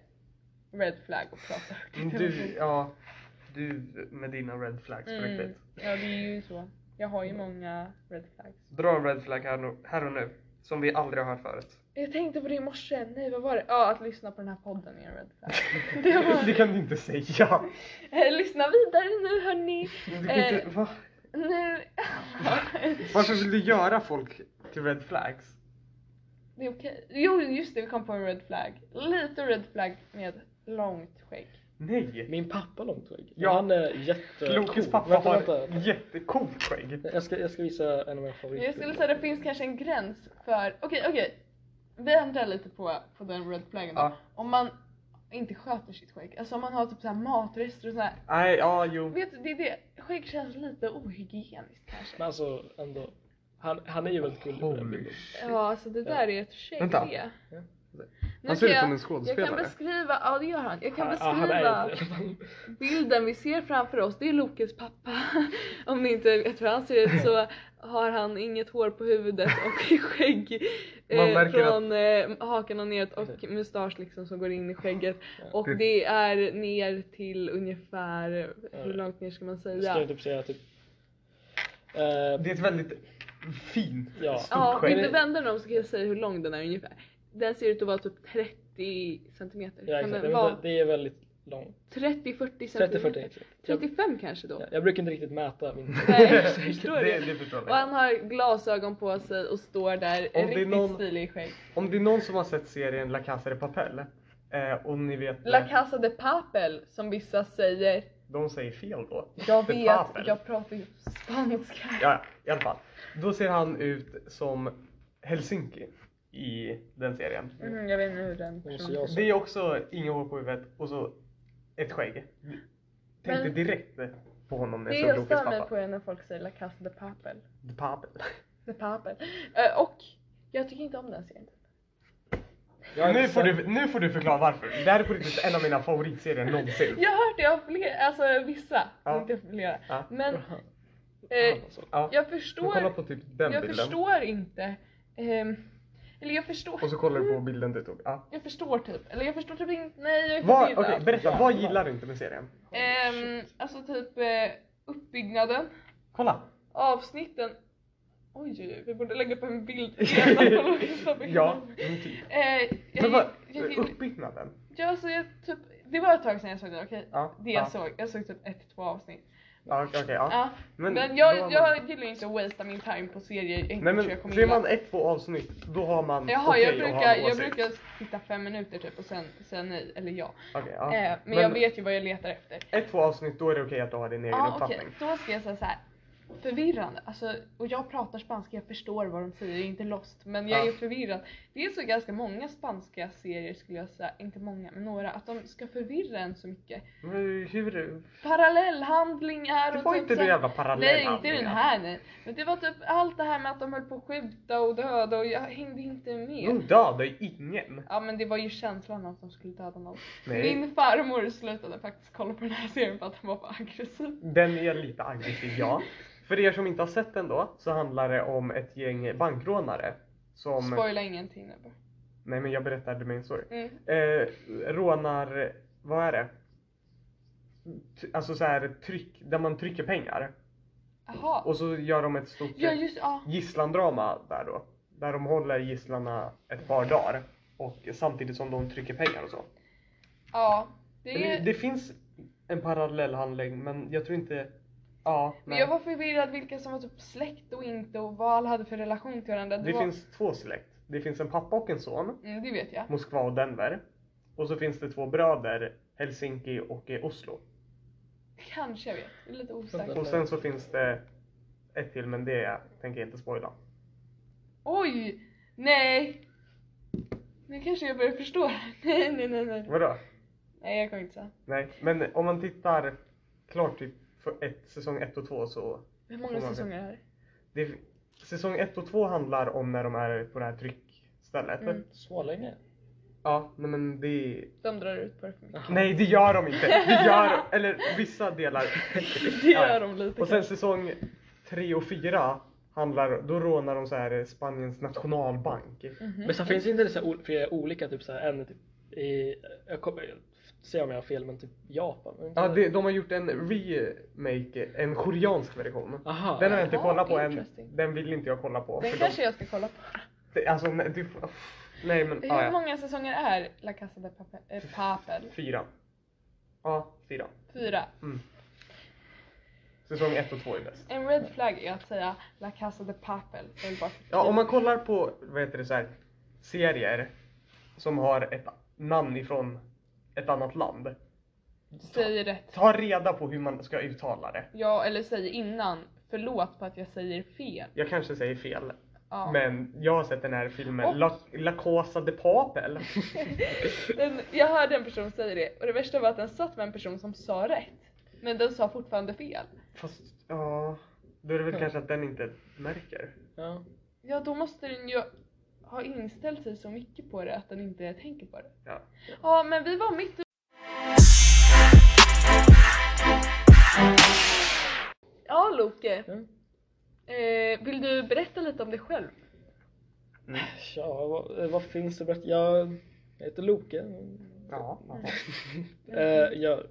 [SPEAKER 1] red flag att prata högt. i
[SPEAKER 2] Du,
[SPEAKER 1] telefon.
[SPEAKER 2] ja, du med dina red flags på
[SPEAKER 1] mm,
[SPEAKER 2] riktigt.
[SPEAKER 1] ja det är ju så. Jag har ju många red flags.
[SPEAKER 2] Dra en red flag här, nu- här och nu, som vi aldrig har hört förut.
[SPEAKER 1] Jag tänkte på det i morse, nej vad var det? Ja att lyssna på den här podden är en red flag. Det var...
[SPEAKER 2] kan du inte säga!
[SPEAKER 1] Eh, Lyssna vidare nu hörni.
[SPEAKER 2] Du kan inte,
[SPEAKER 1] Eh.
[SPEAKER 2] va?
[SPEAKER 1] Nu...
[SPEAKER 2] Varför vill du göra folk till red flags?
[SPEAKER 1] Det är okej. Jo just det, vi kom på en red flag. Lite red flag med långt skägg.
[SPEAKER 2] Nej!
[SPEAKER 3] Min pappa har långt skägg.
[SPEAKER 2] Ja.
[SPEAKER 3] Han är jätte...
[SPEAKER 2] Lokes
[SPEAKER 3] cool.
[SPEAKER 2] pappa
[SPEAKER 3] Vänta,
[SPEAKER 2] har
[SPEAKER 3] vänta, vänta.
[SPEAKER 2] jättecoolt skägg.
[SPEAKER 3] Jag ska, jag ska visa en av mina favoriter.
[SPEAKER 1] Jag skulle säga att det finns kanske en gräns för... Okej, okej. Vi ändrar lite på, på den red flaggen då.
[SPEAKER 2] Ja.
[SPEAKER 1] Om man inte sköter sitt skägg. Alltså om man har typ så här matrester och sådär.
[SPEAKER 2] Nej, ja, jo.
[SPEAKER 1] Vet du, det är det. Skägg känns lite ohygieniskt kanske.
[SPEAKER 3] Men alltså ändå. Han, han är ju väldigt gullig. på den
[SPEAKER 2] Holy
[SPEAKER 3] bilden.
[SPEAKER 2] shit.
[SPEAKER 1] Ja, alltså det där är ett skägg
[SPEAKER 2] Vänta.
[SPEAKER 1] det.
[SPEAKER 3] Ja.
[SPEAKER 1] Nu
[SPEAKER 2] Han
[SPEAKER 1] ska
[SPEAKER 2] ser ut
[SPEAKER 1] jag-
[SPEAKER 2] som
[SPEAKER 1] Jag kan
[SPEAKER 2] en skådespelare.
[SPEAKER 1] beskriva, ja det gör han. Jag kan
[SPEAKER 3] Ja, han
[SPEAKER 1] beskriva
[SPEAKER 3] är inte det.
[SPEAKER 1] bilden vi ser framför oss. Det är Lokes pappa. Om ni inte vet hur han ser ut så har han inget hår på huvudet och skägg
[SPEAKER 2] Man
[SPEAKER 1] eh,
[SPEAKER 2] märker
[SPEAKER 1] från eh, hakan och neråt och mustasch liksom som går in i skägget. Och
[SPEAKER 2] Det-
[SPEAKER 1] det är ner till ungefär, hur
[SPEAKER 3] Ja.
[SPEAKER 1] långt ner ska man
[SPEAKER 3] Jag skulle
[SPEAKER 1] säga?
[SPEAKER 3] typ säga typ... Eh,
[SPEAKER 2] Det är ett väldigt fint,
[SPEAKER 3] Ja.
[SPEAKER 2] stort
[SPEAKER 1] Ja, om
[SPEAKER 2] skägg.
[SPEAKER 1] du vänder dem så kan jag säga hur lång den är ungefär. Den ser ut att vara typ 30 centimeter.
[SPEAKER 3] ja,
[SPEAKER 1] kan
[SPEAKER 3] exakt.
[SPEAKER 1] den
[SPEAKER 3] Men
[SPEAKER 1] vara
[SPEAKER 3] det, det är väldigt långt.
[SPEAKER 1] 30-40
[SPEAKER 3] 30-40
[SPEAKER 1] centimeter?
[SPEAKER 3] exakt. Jag,
[SPEAKER 1] 35 kanske då?
[SPEAKER 3] ja, jag brukar inte riktigt mäta min...
[SPEAKER 1] Nej, jag förstår
[SPEAKER 2] det,
[SPEAKER 1] det.
[SPEAKER 2] det förstår
[SPEAKER 1] Och
[SPEAKER 2] jag.
[SPEAKER 1] han har glasögon på sig och står där
[SPEAKER 2] det är
[SPEAKER 1] riktigt
[SPEAKER 2] någon-
[SPEAKER 1] stilig i skägg.
[SPEAKER 2] Om det är någon som har sett serien La Casa de Papel eh, och ni vet...
[SPEAKER 1] La Casa de Papel som vissa säger.
[SPEAKER 2] De säger fel då.
[SPEAKER 1] Jag
[SPEAKER 2] De
[SPEAKER 1] vet,
[SPEAKER 2] Papel.
[SPEAKER 1] jag pratar ju spanska.
[SPEAKER 2] Ja, ja, i alla fall. Då ser han ut som Helsinki i den serien.
[SPEAKER 1] Mm, jag vet inte hur den
[SPEAKER 3] Och så jag
[SPEAKER 1] personen...
[SPEAKER 2] Det är också inga hår på huvudet och så ett skägg. Tänkte
[SPEAKER 1] Men-
[SPEAKER 2] direkt på honom när
[SPEAKER 1] Det
[SPEAKER 2] jag såg
[SPEAKER 1] jag
[SPEAKER 2] Lokes
[SPEAKER 1] stör mig
[SPEAKER 2] pappa.
[SPEAKER 1] på är när folk säger La Casa de Papel.
[SPEAKER 2] De Papel.
[SPEAKER 1] De Papel. Eh, Och jag tycker inte om den serien.
[SPEAKER 3] Jag har
[SPEAKER 2] Nu
[SPEAKER 3] inte
[SPEAKER 2] får,
[SPEAKER 3] sett-
[SPEAKER 2] du, nu får du förklara varför. Det här är på riktigt en av mina favoritserier någonsin.
[SPEAKER 1] Jag har hört det av flera, alltså vissa.
[SPEAKER 2] Ja.
[SPEAKER 1] Inte flera.
[SPEAKER 2] Ja.
[SPEAKER 1] Men
[SPEAKER 3] Han-
[SPEAKER 1] eh,
[SPEAKER 3] han alltså.
[SPEAKER 2] Ja.
[SPEAKER 1] jag
[SPEAKER 2] Men kolla
[SPEAKER 1] förstår,
[SPEAKER 2] på typ den
[SPEAKER 1] jag
[SPEAKER 2] bilden.
[SPEAKER 1] förstår inte. ehm, Eller jag förstår.
[SPEAKER 2] Och så kollar du på bilden du tog. Ja.
[SPEAKER 1] Jag förstår typ, eller jag förstår typ inte, nej jag är
[SPEAKER 2] Vad,
[SPEAKER 1] förvirrad.
[SPEAKER 2] okej, berätta, vad gillar du inte med serien?
[SPEAKER 1] Ehm, alltså typ eh, uppbyggnaden,
[SPEAKER 2] Kolla!
[SPEAKER 1] avsnitten. Oj, oj, oj, vi borde lägga upp en bild. Redan på
[SPEAKER 2] ja, men typ.
[SPEAKER 1] Eh, jag,
[SPEAKER 2] Men
[SPEAKER 1] jag,
[SPEAKER 2] vad,
[SPEAKER 1] jag,
[SPEAKER 2] uppbyggnaden?
[SPEAKER 1] jag, alltså, jag, typ, det var ett tag sedan jag såg det, okej?
[SPEAKER 2] Ja,
[SPEAKER 1] Det jag
[SPEAKER 2] ja.
[SPEAKER 1] såg, jag såg typ ett, två avsnitt.
[SPEAKER 2] Ja, okej, okej, ja.
[SPEAKER 1] Ja. Men, jag, jag gillar ju inte att wastea min time på serier jag inte
[SPEAKER 2] Nej
[SPEAKER 1] tror jag
[SPEAKER 2] men
[SPEAKER 1] kommer
[SPEAKER 2] ser
[SPEAKER 1] gilla.
[SPEAKER 2] man ett, två avsnitt då har man
[SPEAKER 1] Jaha, jag,
[SPEAKER 2] okej att ha
[SPEAKER 1] brukar,
[SPEAKER 2] en
[SPEAKER 1] jag
[SPEAKER 2] åsikt.
[SPEAKER 1] brukar titta fem minuter typ och sen, sen nej, eller ja.
[SPEAKER 2] Okej, ja.
[SPEAKER 1] Eh, men, jag vet ju vad jag letar efter.
[SPEAKER 2] Ett, två avsnitt då är det okej att du har din egen
[SPEAKER 1] Ja okej,
[SPEAKER 2] uppfattning.
[SPEAKER 1] då ska jag säga så här. Förvirrande, alltså, och jag pratar spanska, jag förstår vad de säger, jag är inte lost, men jag
[SPEAKER 2] Ja.
[SPEAKER 1] är förvirrad. Det är så ganska många spanska serier skulle jag säga, inte många, men några, att de ska förvirra en så mycket.
[SPEAKER 2] Men hur...
[SPEAKER 1] Parallellhandlingar och
[SPEAKER 2] Det var
[SPEAKER 1] typ
[SPEAKER 2] inte
[SPEAKER 1] så
[SPEAKER 2] det
[SPEAKER 1] här-
[SPEAKER 2] jävla parallella.
[SPEAKER 1] Nej, inte den här nej. Men det var typ allt det här med att de höll på att skjuta och döda och jag hängde inte med.
[SPEAKER 2] De dödar ingen.
[SPEAKER 1] Ja men det var ju känslan av att de skulle döda någon.
[SPEAKER 2] Nej.
[SPEAKER 1] Min farmor slutade faktiskt kolla på den här serien för att han var för aggressiv.
[SPEAKER 2] Den är lite aggressiv, ja. För er som inte har sett den då så handlar det om ett gäng bankrånare som...
[SPEAKER 1] Spoila ingenting nu bara.
[SPEAKER 2] Nej men jag berättade min story.
[SPEAKER 1] Mm.
[SPEAKER 2] eh, rånar, vad är det? T- alltså så här tryck, där man trycker pengar.
[SPEAKER 1] Jaha.
[SPEAKER 2] Och så gör de ett stort
[SPEAKER 1] Ja just ja.
[SPEAKER 2] gisslandrama där då. Där de håller gisslarna ett par dagar. Och samtidigt som de trycker pengar och så.
[SPEAKER 1] Ja. Det
[SPEAKER 2] Det,
[SPEAKER 1] är...
[SPEAKER 2] det finns en parallell handling men jag tror inte... Ja,
[SPEAKER 1] Men jag var förvirrad vilka som var typ släkt och inte och vad alla hade för relation till varandra.
[SPEAKER 2] Det
[SPEAKER 1] var...
[SPEAKER 2] finns två släkt. Det finns en pappa och en son.
[SPEAKER 1] Mm, det vet jag.
[SPEAKER 2] Moskva och Denver. Och så finns det två bröder. Helsinki och eh, Oslo.
[SPEAKER 1] Kanske jag vet, jag är lite osäker.
[SPEAKER 2] Och sen så finns det ett till men det tänker jag inte spoila.
[SPEAKER 1] Oj! Nej! Nu kanske jag börjar förstå. Nej, nej, nej, nej.
[SPEAKER 2] Vadå?
[SPEAKER 1] Nej, jag kommer inte säga.
[SPEAKER 2] Nej, men om man tittar klart typ för ett, säsong 1 och 2 så
[SPEAKER 1] Hur
[SPEAKER 2] Får
[SPEAKER 1] många
[SPEAKER 2] man
[SPEAKER 1] säsonger är det här?
[SPEAKER 2] det, Säsong 1 och 2 handlar om när de är på det här tryckstället.
[SPEAKER 1] Mm.
[SPEAKER 3] Så länge?
[SPEAKER 2] Ja, nej men det...
[SPEAKER 1] De drar ut på det för mycket.
[SPEAKER 2] Nej det gör de inte! Det gör... Eller vissa delar.
[SPEAKER 1] Det
[SPEAKER 2] Ja, ja.
[SPEAKER 1] gör de lite
[SPEAKER 2] Och sen säsong 3 och 4 handlar... Då rånar de så här Spaniens nationalbank.
[SPEAKER 1] Mhm.
[SPEAKER 3] Men så finns inte det så här ol- flera olika typ såhär, en typ i, jag kommer se om jag har fel men typ Japan? är inte
[SPEAKER 2] Ja, det, de har gjort en remake, en koreansk version.
[SPEAKER 3] Aha,
[SPEAKER 2] Den har jag inte
[SPEAKER 1] Jaha,
[SPEAKER 2] kollat på än.
[SPEAKER 1] interesting.
[SPEAKER 2] Den vill inte jag kolla på.
[SPEAKER 1] Den
[SPEAKER 2] för
[SPEAKER 1] kanske
[SPEAKER 2] de,
[SPEAKER 1] jag ska kolla på.
[SPEAKER 2] det, alltså, nej, du, får- nej men,
[SPEAKER 1] Hur
[SPEAKER 2] ja, ja.
[SPEAKER 1] många säsonger är La Casa de Papel? eh, Papel?
[SPEAKER 2] Fyra. Ja, fyra.
[SPEAKER 1] Fyra.
[SPEAKER 2] Mm. Säsong ett och två är bäst.
[SPEAKER 1] En red flag är att säga La Casa de Papel. Jag vill bara-
[SPEAKER 2] Ja, om man kollar på, vad heter det så här, serier som har ett namn ifrån ett annat land.
[SPEAKER 1] Säg rätt.
[SPEAKER 2] Ta reda på hur man ska uttala det.
[SPEAKER 1] Ja, eller säg innan. Förlåt på att jag säger fel.
[SPEAKER 2] Jag kanske säger fel,
[SPEAKER 1] Ja.
[SPEAKER 2] men jag har sett den här filmen
[SPEAKER 1] Och-
[SPEAKER 2] La, La Casa de Papel.
[SPEAKER 1] Den, jag hörde en person säga det och det värsta var att den satt med en person som sa rätt. Men den sa fortfarande fel.
[SPEAKER 2] Fast, ja. Då är det väl kanske att den inte märker.
[SPEAKER 3] Ja.
[SPEAKER 1] Ja, då måste den ju ha inställt sig så mycket på det att den inte tänker på det.
[SPEAKER 2] Ja.
[SPEAKER 1] Ja, men vi var mitt i... Ja, Loke.
[SPEAKER 3] Mm.
[SPEAKER 1] Eh, vill du berätta lite om dig själv?
[SPEAKER 3] Tja, vad, vad finns det bättre? Jag, jag heter Loke.
[SPEAKER 2] Ja.
[SPEAKER 1] Mm.
[SPEAKER 3] Eh, jag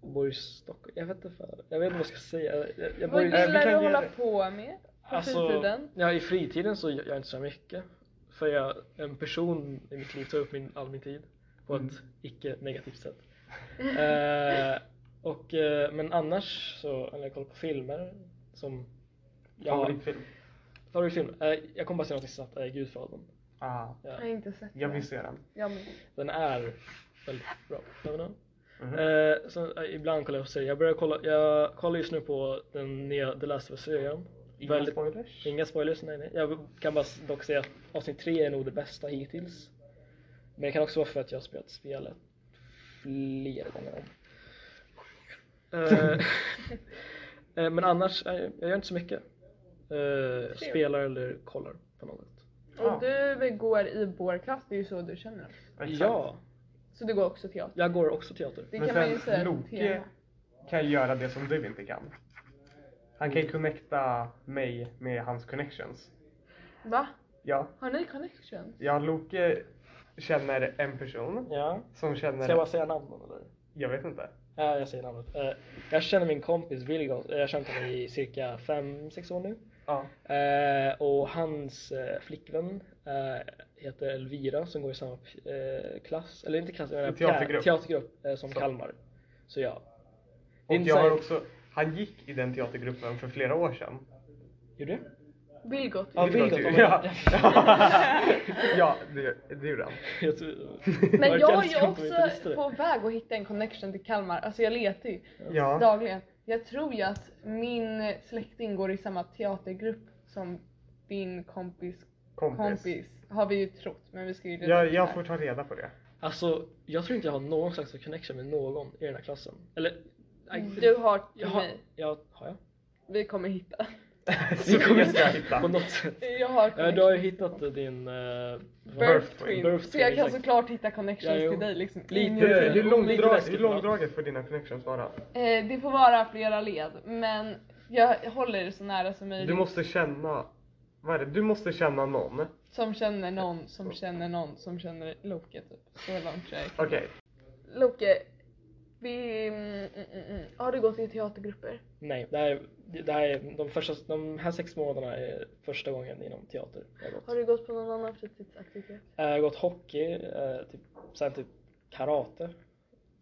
[SPEAKER 3] bor i Stockholm. Jag vet inte fan. Jag vet inte vad jag ska säga. Jag, jag
[SPEAKER 1] Vad
[SPEAKER 3] bor i,
[SPEAKER 2] Eh, vi
[SPEAKER 1] gillar
[SPEAKER 2] kan
[SPEAKER 1] du att
[SPEAKER 2] ge
[SPEAKER 1] hålla
[SPEAKER 2] det.
[SPEAKER 1] på med på
[SPEAKER 3] alltså,
[SPEAKER 1] fritiden?
[SPEAKER 3] ja, i fritiden så gör jag inte så mycket. För jag, en person i mitt liv tar upp min, all min tid på
[SPEAKER 2] Mm.
[SPEAKER 3] ett icke negativt sätt. Eh, och, eh, men annars så, när jag kollar på filmer som jag har
[SPEAKER 2] Favoritfilm.
[SPEAKER 3] Favoritfilm? Eh, jag kommer bara säga något snabbt. Eh, Gudfadern.
[SPEAKER 2] Ah,
[SPEAKER 1] Jag
[SPEAKER 3] Ja.
[SPEAKER 1] har inte sett
[SPEAKER 2] jag
[SPEAKER 1] det.
[SPEAKER 2] vill se den.
[SPEAKER 1] Jag med.
[SPEAKER 3] Den är väldigt bra. Jag menar.
[SPEAKER 2] Mhm.
[SPEAKER 3] Eh, så, eh, ibland kollar jag på serier. Jag, börjar kolla, jag kollar just nu på den nya The Last of Us-serien.
[SPEAKER 2] Inga
[SPEAKER 3] väldigt-
[SPEAKER 2] spoilers.
[SPEAKER 3] Inga spoilers, nej nej. Jag kan bara dock säga att avsnitt 3 är nog det bästa hittills. Men det kan också vara för att jag har spelat spelet flera gånger om. Eh, eh, Men annars, eh, jag gör inte så mycket. Eh, jag spelar eller kollar på något.
[SPEAKER 1] Och
[SPEAKER 2] Ja.
[SPEAKER 1] du går i vår klass, det är ju så du känner.
[SPEAKER 2] Exakt.
[SPEAKER 3] Ja,
[SPEAKER 1] Så du går också teater.
[SPEAKER 3] jag går också teater.
[SPEAKER 1] Det
[SPEAKER 2] Men
[SPEAKER 1] kan man ju
[SPEAKER 2] sen,
[SPEAKER 1] säga är ett
[SPEAKER 2] Loke-
[SPEAKER 1] tema.
[SPEAKER 2] kan ju göra det som du inte kan. Han kan ju connecta mig med hans connections.
[SPEAKER 1] Va?
[SPEAKER 2] Ja,
[SPEAKER 1] Har ni connection?
[SPEAKER 2] jag Loke känner en person
[SPEAKER 3] Ja.
[SPEAKER 2] som känner...
[SPEAKER 3] Ska jag bara säga namnen eller?
[SPEAKER 2] Jag vet inte.
[SPEAKER 3] Ja, jag säger namnet. Eh, jag känner min kompis Vilgot, jag har känt honom i cirka 5-6 år nu.
[SPEAKER 2] Ja.
[SPEAKER 3] Eh, och hans eh, flickvän eh, heter Elvira som går i samma eh, klass, eller inte klass, jag menar
[SPEAKER 2] Teatergrupp.
[SPEAKER 3] pjä- teatergrupp eh, som
[SPEAKER 2] Så.
[SPEAKER 3] Kalmar. Så ja.
[SPEAKER 2] Och
[SPEAKER 3] Inside-
[SPEAKER 2] jag har också... Han gick i den teatergruppen för flera år sedan.
[SPEAKER 3] Gjorde du?
[SPEAKER 1] Vilgot.
[SPEAKER 3] Ja,
[SPEAKER 2] Vilgot
[SPEAKER 3] Vilgot,
[SPEAKER 2] ju-
[SPEAKER 3] om
[SPEAKER 2] ja.
[SPEAKER 3] jag-
[SPEAKER 2] ja, det, det gjorde han.
[SPEAKER 3] Jag tror-
[SPEAKER 1] Men
[SPEAKER 3] var
[SPEAKER 1] jag är
[SPEAKER 3] ganska
[SPEAKER 1] ju
[SPEAKER 3] om vi inte visste
[SPEAKER 1] också
[SPEAKER 3] det.
[SPEAKER 1] på väg att hitta en connection till Kalmar. Alltså jag letar ju
[SPEAKER 2] Ja.
[SPEAKER 1] dagligen. Jag tror ju att min släkting går i samma teatergrupp som din kompis
[SPEAKER 2] Kompis.
[SPEAKER 1] kompis. Har vi ju trott. Men vi ska ju reda
[SPEAKER 2] Jag,
[SPEAKER 1] ut det här.
[SPEAKER 2] jag får ta reda på det.
[SPEAKER 3] Alltså, jag tror inte jag har någon slags connection med någon i den här klassen. Eller... nej,
[SPEAKER 1] Mm, Du har till
[SPEAKER 3] jag har,
[SPEAKER 1] mig.
[SPEAKER 3] jag, har jag?
[SPEAKER 1] Vi kommer hitta.
[SPEAKER 2] Så det ska jag hitta.
[SPEAKER 3] På något sätt.
[SPEAKER 1] Jag har
[SPEAKER 3] Ja,
[SPEAKER 1] connection.
[SPEAKER 3] du har ju hittat din... eh,
[SPEAKER 1] Birth
[SPEAKER 2] Birth
[SPEAKER 1] twin.
[SPEAKER 2] twin.
[SPEAKER 3] Birth
[SPEAKER 1] Så jag
[SPEAKER 3] twin,
[SPEAKER 1] kan
[SPEAKER 3] exakt.
[SPEAKER 1] såklart hitta connections
[SPEAKER 3] Ja, jo.
[SPEAKER 1] till dig liksom. in
[SPEAKER 3] Lite-
[SPEAKER 1] your
[SPEAKER 2] Hur, hur,
[SPEAKER 1] field.
[SPEAKER 2] långdrag, hur långdraget får dina connections vara?
[SPEAKER 1] Eh, det får vara flera led men jag håller det så nära som möjligt.
[SPEAKER 2] Du måste känna... Vad är det? Du måste känna någon.
[SPEAKER 1] Som känner någon som känner någon som känner Loke typ. Så långt tror jag.
[SPEAKER 2] Okej.
[SPEAKER 1] Loke, vi... Mm, mm, mm. Har du gått i teatergrupper?
[SPEAKER 3] Nej, det här, är- det här är de, första, de här sex månaderna är första gången inom teater jag har gått.
[SPEAKER 1] Har du gått på någon annan fritidsaktivitet?
[SPEAKER 3] Eh, Jag har gått hockey, eh, typ, sen typ karate,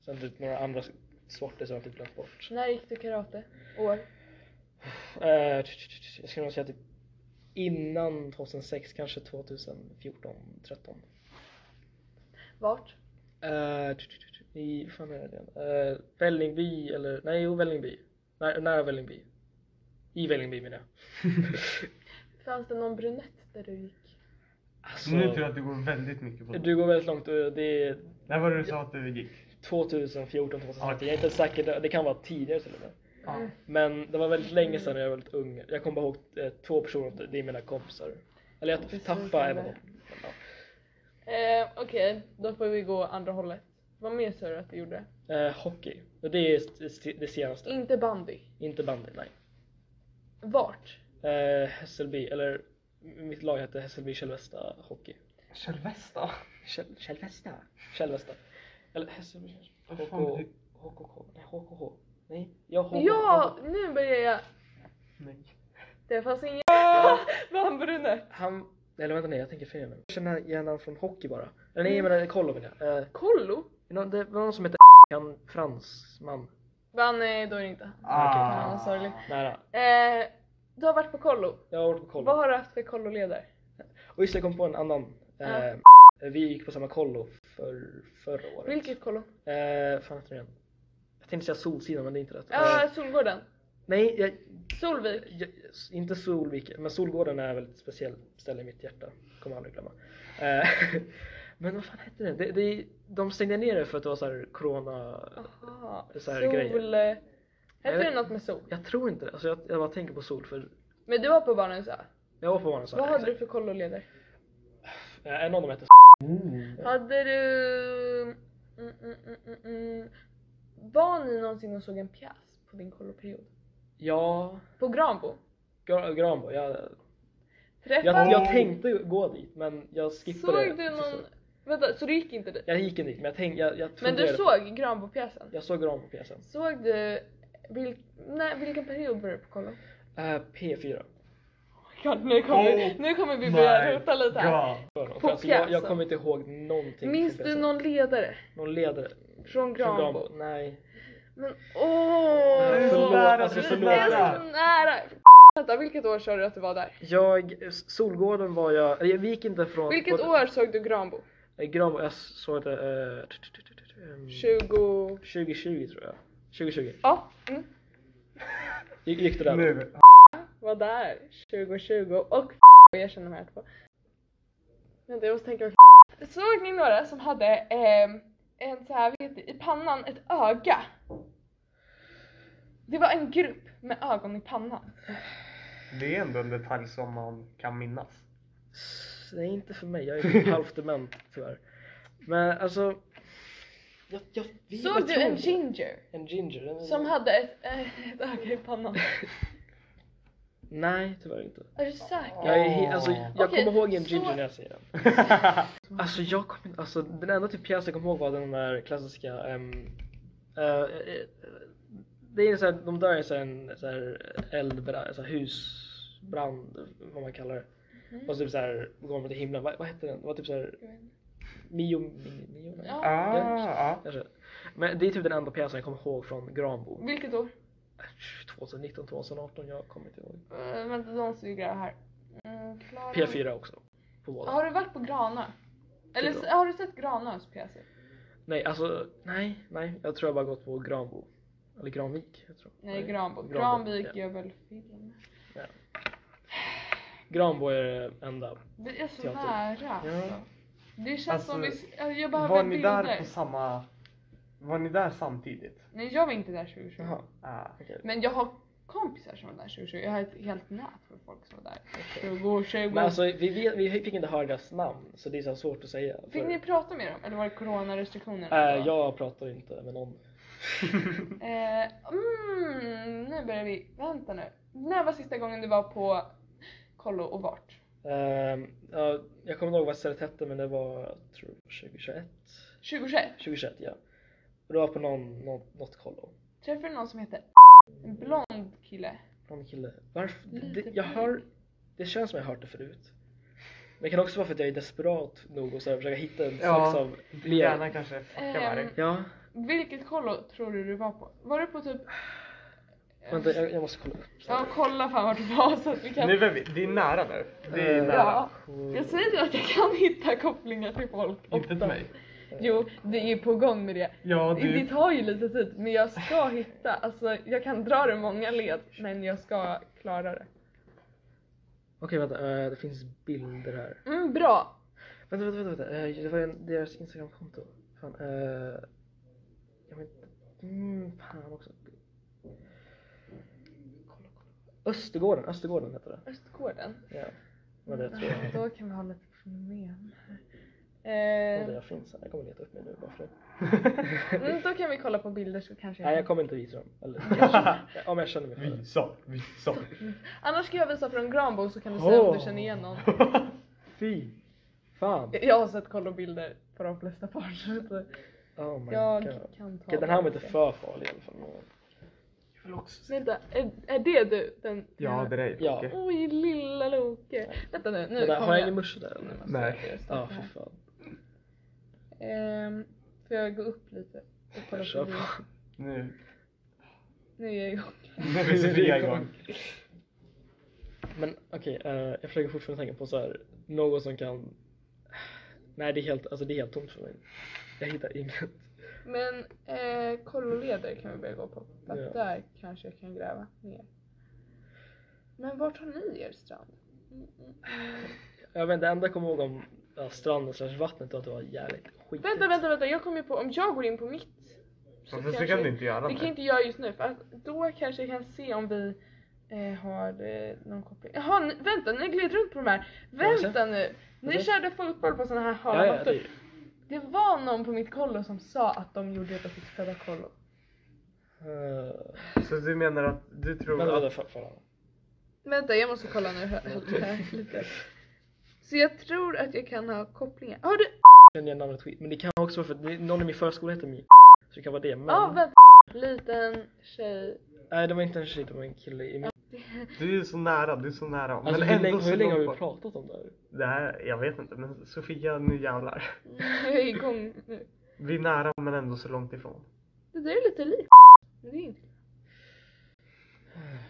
[SPEAKER 3] sen typ några andra sporter som jag typ glömt bort.
[SPEAKER 1] När gick du karate? År?
[SPEAKER 3] Eh, tch, tch, tch, Jag skulle nog säga typ innan 2006, kanske 2014, 13.
[SPEAKER 1] Vart?
[SPEAKER 3] Eh, tch, tch, tch, tch. I, fan är det igen? Eh, Vällingby eller, nej jo Vällingby. Nä, nära Vällingby. I Vällingby menar jag.
[SPEAKER 1] Fanns det någon brunett där du gick?
[SPEAKER 3] Alltså,
[SPEAKER 2] Nu tror jag att du går väldigt mycket på det.
[SPEAKER 3] du går väldigt långt och det är
[SPEAKER 2] När var det du sa att du gick?
[SPEAKER 3] 2014, 2013. Jag
[SPEAKER 2] Okej.
[SPEAKER 3] är inte säker, det- det kan vara tidigare till och med.
[SPEAKER 2] Ja.
[SPEAKER 3] Men det var väldigt länge sedan när jag var väldigt ung. Jag kommer bara ihåg eh, två personer, det är mina kompisar. Eller jag
[SPEAKER 1] Precis,
[SPEAKER 3] tappade
[SPEAKER 1] eller-
[SPEAKER 3] även dem. Men, ja.
[SPEAKER 1] Eh, Okej, då får vi gå andra hållet. Vad mer sa du att du gjorde?
[SPEAKER 3] Eh, hockey. Och det är s- det senaste.
[SPEAKER 1] Inte bandy.
[SPEAKER 3] Inte bandy, nej.
[SPEAKER 1] Vart?
[SPEAKER 3] Eh, Hässelby, eller mitt lag hette Hässelby Kälvesta Hockey.
[SPEAKER 2] Kälvesta?
[SPEAKER 3] Käll- Kälvesta? Kälvesta. Eller Hässelby
[SPEAKER 2] Vad
[SPEAKER 3] HK...
[SPEAKER 2] fan betyder-
[SPEAKER 3] HKK? Nej, HKH. Nej, jag HKH.
[SPEAKER 1] Ja, nu börjar jag.
[SPEAKER 2] Nej.
[SPEAKER 1] Det fanns ingen... Vann brunett.
[SPEAKER 3] Han... Eller vänta nej, jag tänker fel nu. Jag känner igen honom från hockey bara. Eller nej, jag menar kollo menar jag. Eh,
[SPEAKER 1] Kollo?
[SPEAKER 3] någon- det var någon som hette han fransman.
[SPEAKER 1] Vann, nej då är det inte han.
[SPEAKER 2] Ah.
[SPEAKER 1] Ja, sorgligt.
[SPEAKER 3] Nära.
[SPEAKER 1] Eh, du har varit på kollo.
[SPEAKER 3] Jag har varit på kollo.
[SPEAKER 1] Vad har du haft för kolloledare?
[SPEAKER 3] Och just det, jag kom på en annan.
[SPEAKER 1] Ja.
[SPEAKER 3] Eh, vi gick på samma kollo för, förra året.
[SPEAKER 1] Vilket kollo?
[SPEAKER 3] Eh, fan heter den? Jag tänkte säga Solsidan men det är inte rätt.
[SPEAKER 1] Ja,
[SPEAKER 3] Eh,
[SPEAKER 1] Solgården.
[SPEAKER 3] nej, jag,
[SPEAKER 1] Solvik.
[SPEAKER 3] jag, inte Solviken, men Solgården är väl ett speciellt ställe i mitt hjärta. Kommer jag aldrig glömma. Eh, men vad fan hette den? Det, det, de stängde ner det för att det var så här corona...
[SPEAKER 1] Aha,
[SPEAKER 3] Så här
[SPEAKER 1] sol...
[SPEAKER 3] grejer.
[SPEAKER 1] Hette det
[SPEAKER 3] Jag vet-
[SPEAKER 1] något med sol?
[SPEAKER 3] Jag tror inte det. Alltså jag, jag bara tänker på sol för
[SPEAKER 1] Men du var på barnens ö.
[SPEAKER 3] jag var på barnen så
[SPEAKER 1] Vad hade du för kolloledare?
[SPEAKER 3] Eh, En av dem hette
[SPEAKER 2] Oh.
[SPEAKER 1] Hade du... Mm, mm, mm, mm, mm. Var ni någonsin och såg en pjäs på din kolloperiod?
[SPEAKER 3] Ja,
[SPEAKER 1] På Granbo?
[SPEAKER 3] Gra- Granbo. Jag,
[SPEAKER 1] Träffade
[SPEAKER 3] jag, jag
[SPEAKER 2] Oh.
[SPEAKER 3] tänkte gå dit men jag skippade
[SPEAKER 1] Såg du någon... Vänta, så du gick inte dit?
[SPEAKER 3] Jag gick inte dit men jag tänkte, jag, jag
[SPEAKER 1] Men du
[SPEAKER 3] funderade på-
[SPEAKER 1] såg Granbo-pjäsen?
[SPEAKER 3] Jag såg Granbo-pjäsen.
[SPEAKER 1] Såg du... Vil... Nej, vilken period var du på kollo?
[SPEAKER 3] Eh, P4.
[SPEAKER 1] God, nu, kommer,
[SPEAKER 2] Oh
[SPEAKER 1] nu kommer vi börja
[SPEAKER 2] my
[SPEAKER 1] rota lite här.
[SPEAKER 2] Ja.
[SPEAKER 3] För dem.
[SPEAKER 1] På
[SPEAKER 3] För alltså, jag, jag
[SPEAKER 1] pjäsen.
[SPEAKER 3] kommer inte ihåg någonting.
[SPEAKER 1] Minns du
[SPEAKER 3] från pjäsen.
[SPEAKER 1] någon ledare
[SPEAKER 3] någon ledare?
[SPEAKER 1] från
[SPEAKER 3] Från
[SPEAKER 1] Granbo?
[SPEAKER 3] Granbo? Nej.
[SPEAKER 1] Men åh!
[SPEAKER 2] Det är så
[SPEAKER 3] Förlåt,
[SPEAKER 2] nära,
[SPEAKER 3] alltså,
[SPEAKER 2] det är så
[SPEAKER 1] Det är så
[SPEAKER 2] nära.
[SPEAKER 1] nära! Vänta, vilket år sa du att du var där?
[SPEAKER 3] Jag, Solgården var jag, eller vi gick inte från...
[SPEAKER 1] Vilket
[SPEAKER 3] på-
[SPEAKER 1] år såg du Granbo?
[SPEAKER 3] Eh, Granbo, jag såg inte... eh, t- t- t- t- ehm,
[SPEAKER 1] 20...
[SPEAKER 3] 2020 tror jag. 2020.
[SPEAKER 1] Ja, mm.
[SPEAKER 3] Gick, gick du där?
[SPEAKER 2] Nu.
[SPEAKER 1] var där 2020 och jag känner mig här två. Vänta jag måste tänka vad Såg ni några som hade ehm, en så här, vet i pannan ett öga? Det var en grupp med ögon i pannan.
[SPEAKER 2] Det är ändå en detalj som man kan minnas.
[SPEAKER 3] S- Nej, inte för mig. Jag är halvt dement tyvärr. Men alltså... Jag, jag vet
[SPEAKER 1] Såg
[SPEAKER 3] jag
[SPEAKER 1] du
[SPEAKER 3] tror
[SPEAKER 1] en
[SPEAKER 3] inte.
[SPEAKER 1] ginger
[SPEAKER 3] En ginger? En...
[SPEAKER 1] som hade ett, eh, ett öga i pannan?
[SPEAKER 3] Nej, tyvärr inte.
[SPEAKER 1] Är du säker?
[SPEAKER 3] Jag, är, he- alltså,
[SPEAKER 2] Åh.
[SPEAKER 3] jag
[SPEAKER 1] Okej,
[SPEAKER 3] kommer ihåg en
[SPEAKER 1] så-
[SPEAKER 3] ginger när jag ser den. Alltså jag kommer alltså den enda typ pjäs jag kommer ihåg var den där klassiska ehm, eh, eh, eh, Det är såhär, de dör i så här en såhär eldbrand, så här husbrand vad man kallar det.
[SPEAKER 1] Mhm.
[SPEAKER 3] Och så typ såhär går de till himlen, vad, vad hette den? Det var typ såhär Mio, Mio, Mio nej,
[SPEAKER 1] Ja.
[SPEAKER 2] ah, ja.
[SPEAKER 3] kanske. Men det är typ den enda pjäsen jag kommer ihåg från Granbo.
[SPEAKER 1] Vilket år?
[SPEAKER 3] 2019, 2018, jag kommer inte ihåg.
[SPEAKER 1] Uh, vänta, de stod grann här. Mm, Klara-
[SPEAKER 3] P4 också. På båda.
[SPEAKER 1] Har du varit på Granö? Eller
[SPEAKER 3] Typ
[SPEAKER 1] s- har du sett Granös pjäser?
[SPEAKER 3] Nej, alltså nej, nej. Jag tror jag bara gått på Granbo. Eller Granvik, jag tror.
[SPEAKER 1] Nej, Granbo.
[SPEAKER 3] Granbo,
[SPEAKER 1] Granvik
[SPEAKER 3] ja.
[SPEAKER 1] gör väl film?
[SPEAKER 3] Granbo är det enda.
[SPEAKER 1] Det är så
[SPEAKER 3] Teater.
[SPEAKER 1] nära alltså.
[SPEAKER 2] Ja.
[SPEAKER 1] Det känns
[SPEAKER 2] Alltså,
[SPEAKER 1] som vi... alltså, Jag behöver
[SPEAKER 2] Var ni
[SPEAKER 1] bilder.
[SPEAKER 2] där på samma... Var ni där samtidigt?
[SPEAKER 1] Nej, jag var inte där 2020.
[SPEAKER 3] Jaha,
[SPEAKER 2] Ah.
[SPEAKER 3] okej.
[SPEAKER 1] Men jag har kompisar som var där 2020. Jag har ett helt nät för folk som var där. 20,
[SPEAKER 3] okej.
[SPEAKER 1] 20.
[SPEAKER 3] Men alltså vi, vet, vi fick inte höra deras namn så det är så här svårt att säga. För,
[SPEAKER 1] Fick ni prata med dem? Eller var det coronarestriktioner?
[SPEAKER 3] äh, jag pratar inte med någon.
[SPEAKER 1] Eh, mm, nu börjar vi... Vänta nu. När var sista gången du var på kollo och vart?
[SPEAKER 3] Ehm, ja, jag kommer inte ihåg vad stället hette men det var jag tror 2021.
[SPEAKER 1] 2021?
[SPEAKER 3] 2021 ja. Och det var på någon, någon, något kollo.
[SPEAKER 1] Träffade du någon som heter... En blond kille?
[SPEAKER 3] Någon kille. Varför?
[SPEAKER 1] Lite
[SPEAKER 3] Det, jag hör, det känns som jag har hört det förut. Men det kan också vara för att jag är desperat nog och så här, försöka hitta en
[SPEAKER 2] Ja.
[SPEAKER 3] slags av...
[SPEAKER 2] Din hjärna kanske fuckar med dig.
[SPEAKER 1] Ehm,
[SPEAKER 3] Ja,
[SPEAKER 1] Vilket kollo tror du du var på? Var du på typ...
[SPEAKER 3] vänta jag, jag måste kolla upp.
[SPEAKER 1] Ja, kolla fan vart du var så att vi kan...
[SPEAKER 2] Nu är vi, det är nära nu. Det är
[SPEAKER 3] Eh,
[SPEAKER 2] nära.
[SPEAKER 1] ja. Jag säger ju att jag kan hitta kopplingar till folk.
[SPEAKER 2] Inte till
[SPEAKER 1] ofta.
[SPEAKER 2] mig.
[SPEAKER 3] eh,
[SPEAKER 1] Jo, det är på gång med det.
[SPEAKER 2] Ja,
[SPEAKER 1] Det, det
[SPEAKER 2] du,
[SPEAKER 1] tar ju lite tid men jag ska hitta, alltså jag kan dra det många led men jag ska klara det.
[SPEAKER 3] Okej vänta, eh, det finns bilder här.
[SPEAKER 1] Mm, bra!
[SPEAKER 3] Vänta, vänta, vänta. vänta. Eh, det var ju en- deras instagramkonto. Fan, eh, jag vet inte. Mm, fan också. Kolla, kolla. Östergården, Östergården heter det.
[SPEAKER 1] Östgården. Mm,
[SPEAKER 3] Ja, vad det tror jag.
[SPEAKER 1] Då kan vi ha lite problem.
[SPEAKER 3] Om
[SPEAKER 1] här.
[SPEAKER 3] det
[SPEAKER 1] Eh,
[SPEAKER 3] där finns här. Jag kommer leta upp mig nu bara för det.
[SPEAKER 1] mm, då kan vi kolla på bilder så kanske
[SPEAKER 3] Nej, jag kommer inte visa dem. Eller kanske. Om jag känner mig för det.
[SPEAKER 2] visa, visa.
[SPEAKER 1] Annars ska jag visa från Granbo så kan du säga om du
[SPEAKER 3] Åh.
[SPEAKER 1] känner igen någon.
[SPEAKER 3] Fy fan.
[SPEAKER 1] Jag har sett kolla bilder på de flesta par så att
[SPEAKER 3] Oh my
[SPEAKER 1] Eh, jag
[SPEAKER 3] god.
[SPEAKER 1] kan ta
[SPEAKER 3] Okej, den här var
[SPEAKER 1] det.
[SPEAKER 3] inte för farlig i alla fall.
[SPEAKER 2] Jag vill också se.
[SPEAKER 1] Vänta, är, är det du? Den,
[SPEAKER 2] Ja, det är dig
[SPEAKER 3] Ja.
[SPEAKER 2] Loke.
[SPEAKER 1] Oj, lilla Loke. Vänta nu, nu
[SPEAKER 3] Den där,
[SPEAKER 1] kommer
[SPEAKER 3] har jag ingen musche där
[SPEAKER 1] Nu
[SPEAKER 3] eller?
[SPEAKER 1] måste
[SPEAKER 2] Nej.
[SPEAKER 1] jag just
[SPEAKER 3] Ja,
[SPEAKER 1] öppna
[SPEAKER 3] fy
[SPEAKER 1] här.
[SPEAKER 3] fan.
[SPEAKER 1] Ehm, får jag gå upp lite? Och kolla
[SPEAKER 3] Jag kör
[SPEAKER 1] på
[SPEAKER 3] på.
[SPEAKER 1] bild?
[SPEAKER 2] Nu.
[SPEAKER 1] Nu är jag igång.
[SPEAKER 2] Nu är Sofia igång.
[SPEAKER 3] Men okej, eh, jag försöker fortfarande tänka på så här, någon som kan... Nej, det är helt, alltså, det är helt tomt för mig. Jag hittar inget.
[SPEAKER 1] Men eh, kolloleder kan vi börja gå på. För att
[SPEAKER 3] Ja.
[SPEAKER 1] där kanske jag kan gräva ner. Men vart har ni er strand? Mm, mm, mm.
[SPEAKER 3] Jag vet inte, det enda jag kommer ihåg om ja, stranden slash vattnet var att det var jävligt skitigt.
[SPEAKER 1] Vänta, vänta, vänta. Jag kommer ju på, om jag går in på mitt. så
[SPEAKER 2] Varför så
[SPEAKER 1] kanske-
[SPEAKER 2] kan du inte göra
[SPEAKER 1] Det kan
[SPEAKER 2] det?
[SPEAKER 1] inte jag just nu för att då kanske jag kan se om vi eh, har eh, någon koppling. Jaha, ni, vänta ni gled runt på de här.
[SPEAKER 3] Kanske.
[SPEAKER 1] Vänta nu! Ni
[SPEAKER 3] Okej.
[SPEAKER 1] körde fotboll på såna här
[SPEAKER 3] Ja,
[SPEAKER 1] hala
[SPEAKER 3] ja,
[SPEAKER 1] mattor.
[SPEAKER 3] det,
[SPEAKER 1] Det var någon på mitt kollo som sa att de gjorde det på sitt födda kollo.
[SPEAKER 3] uh,
[SPEAKER 2] Så du menar att du tror
[SPEAKER 3] vänta, vänta,
[SPEAKER 2] att...
[SPEAKER 3] fan, fan.
[SPEAKER 1] Vänta, jag måste kolla nu. hö- högt här lite. Så jag tror att jag kan ha kopplingar. Har du?
[SPEAKER 3] Känner jag namnet skit. Men det kan också vara för att det- någon i min förskola heter Mi. Så det kan vara det. Men...
[SPEAKER 1] Ja, vänta. Liten tjej.
[SPEAKER 3] Nej, det var inte en tjej, det var en kille i min...
[SPEAKER 2] Du är så nära, du är så nära.
[SPEAKER 3] Alltså,
[SPEAKER 2] men
[SPEAKER 3] hur, länge,
[SPEAKER 2] ändå
[SPEAKER 3] hur länge har vi
[SPEAKER 2] långt bort.
[SPEAKER 3] pratat om det här?
[SPEAKER 2] Det här, jag vet inte, men Sofia, nu jävlar.
[SPEAKER 1] Jag är igång nu.
[SPEAKER 2] Vi är nära men ändå så långt ifrån.
[SPEAKER 1] Det där är lite likt. Men det är inte.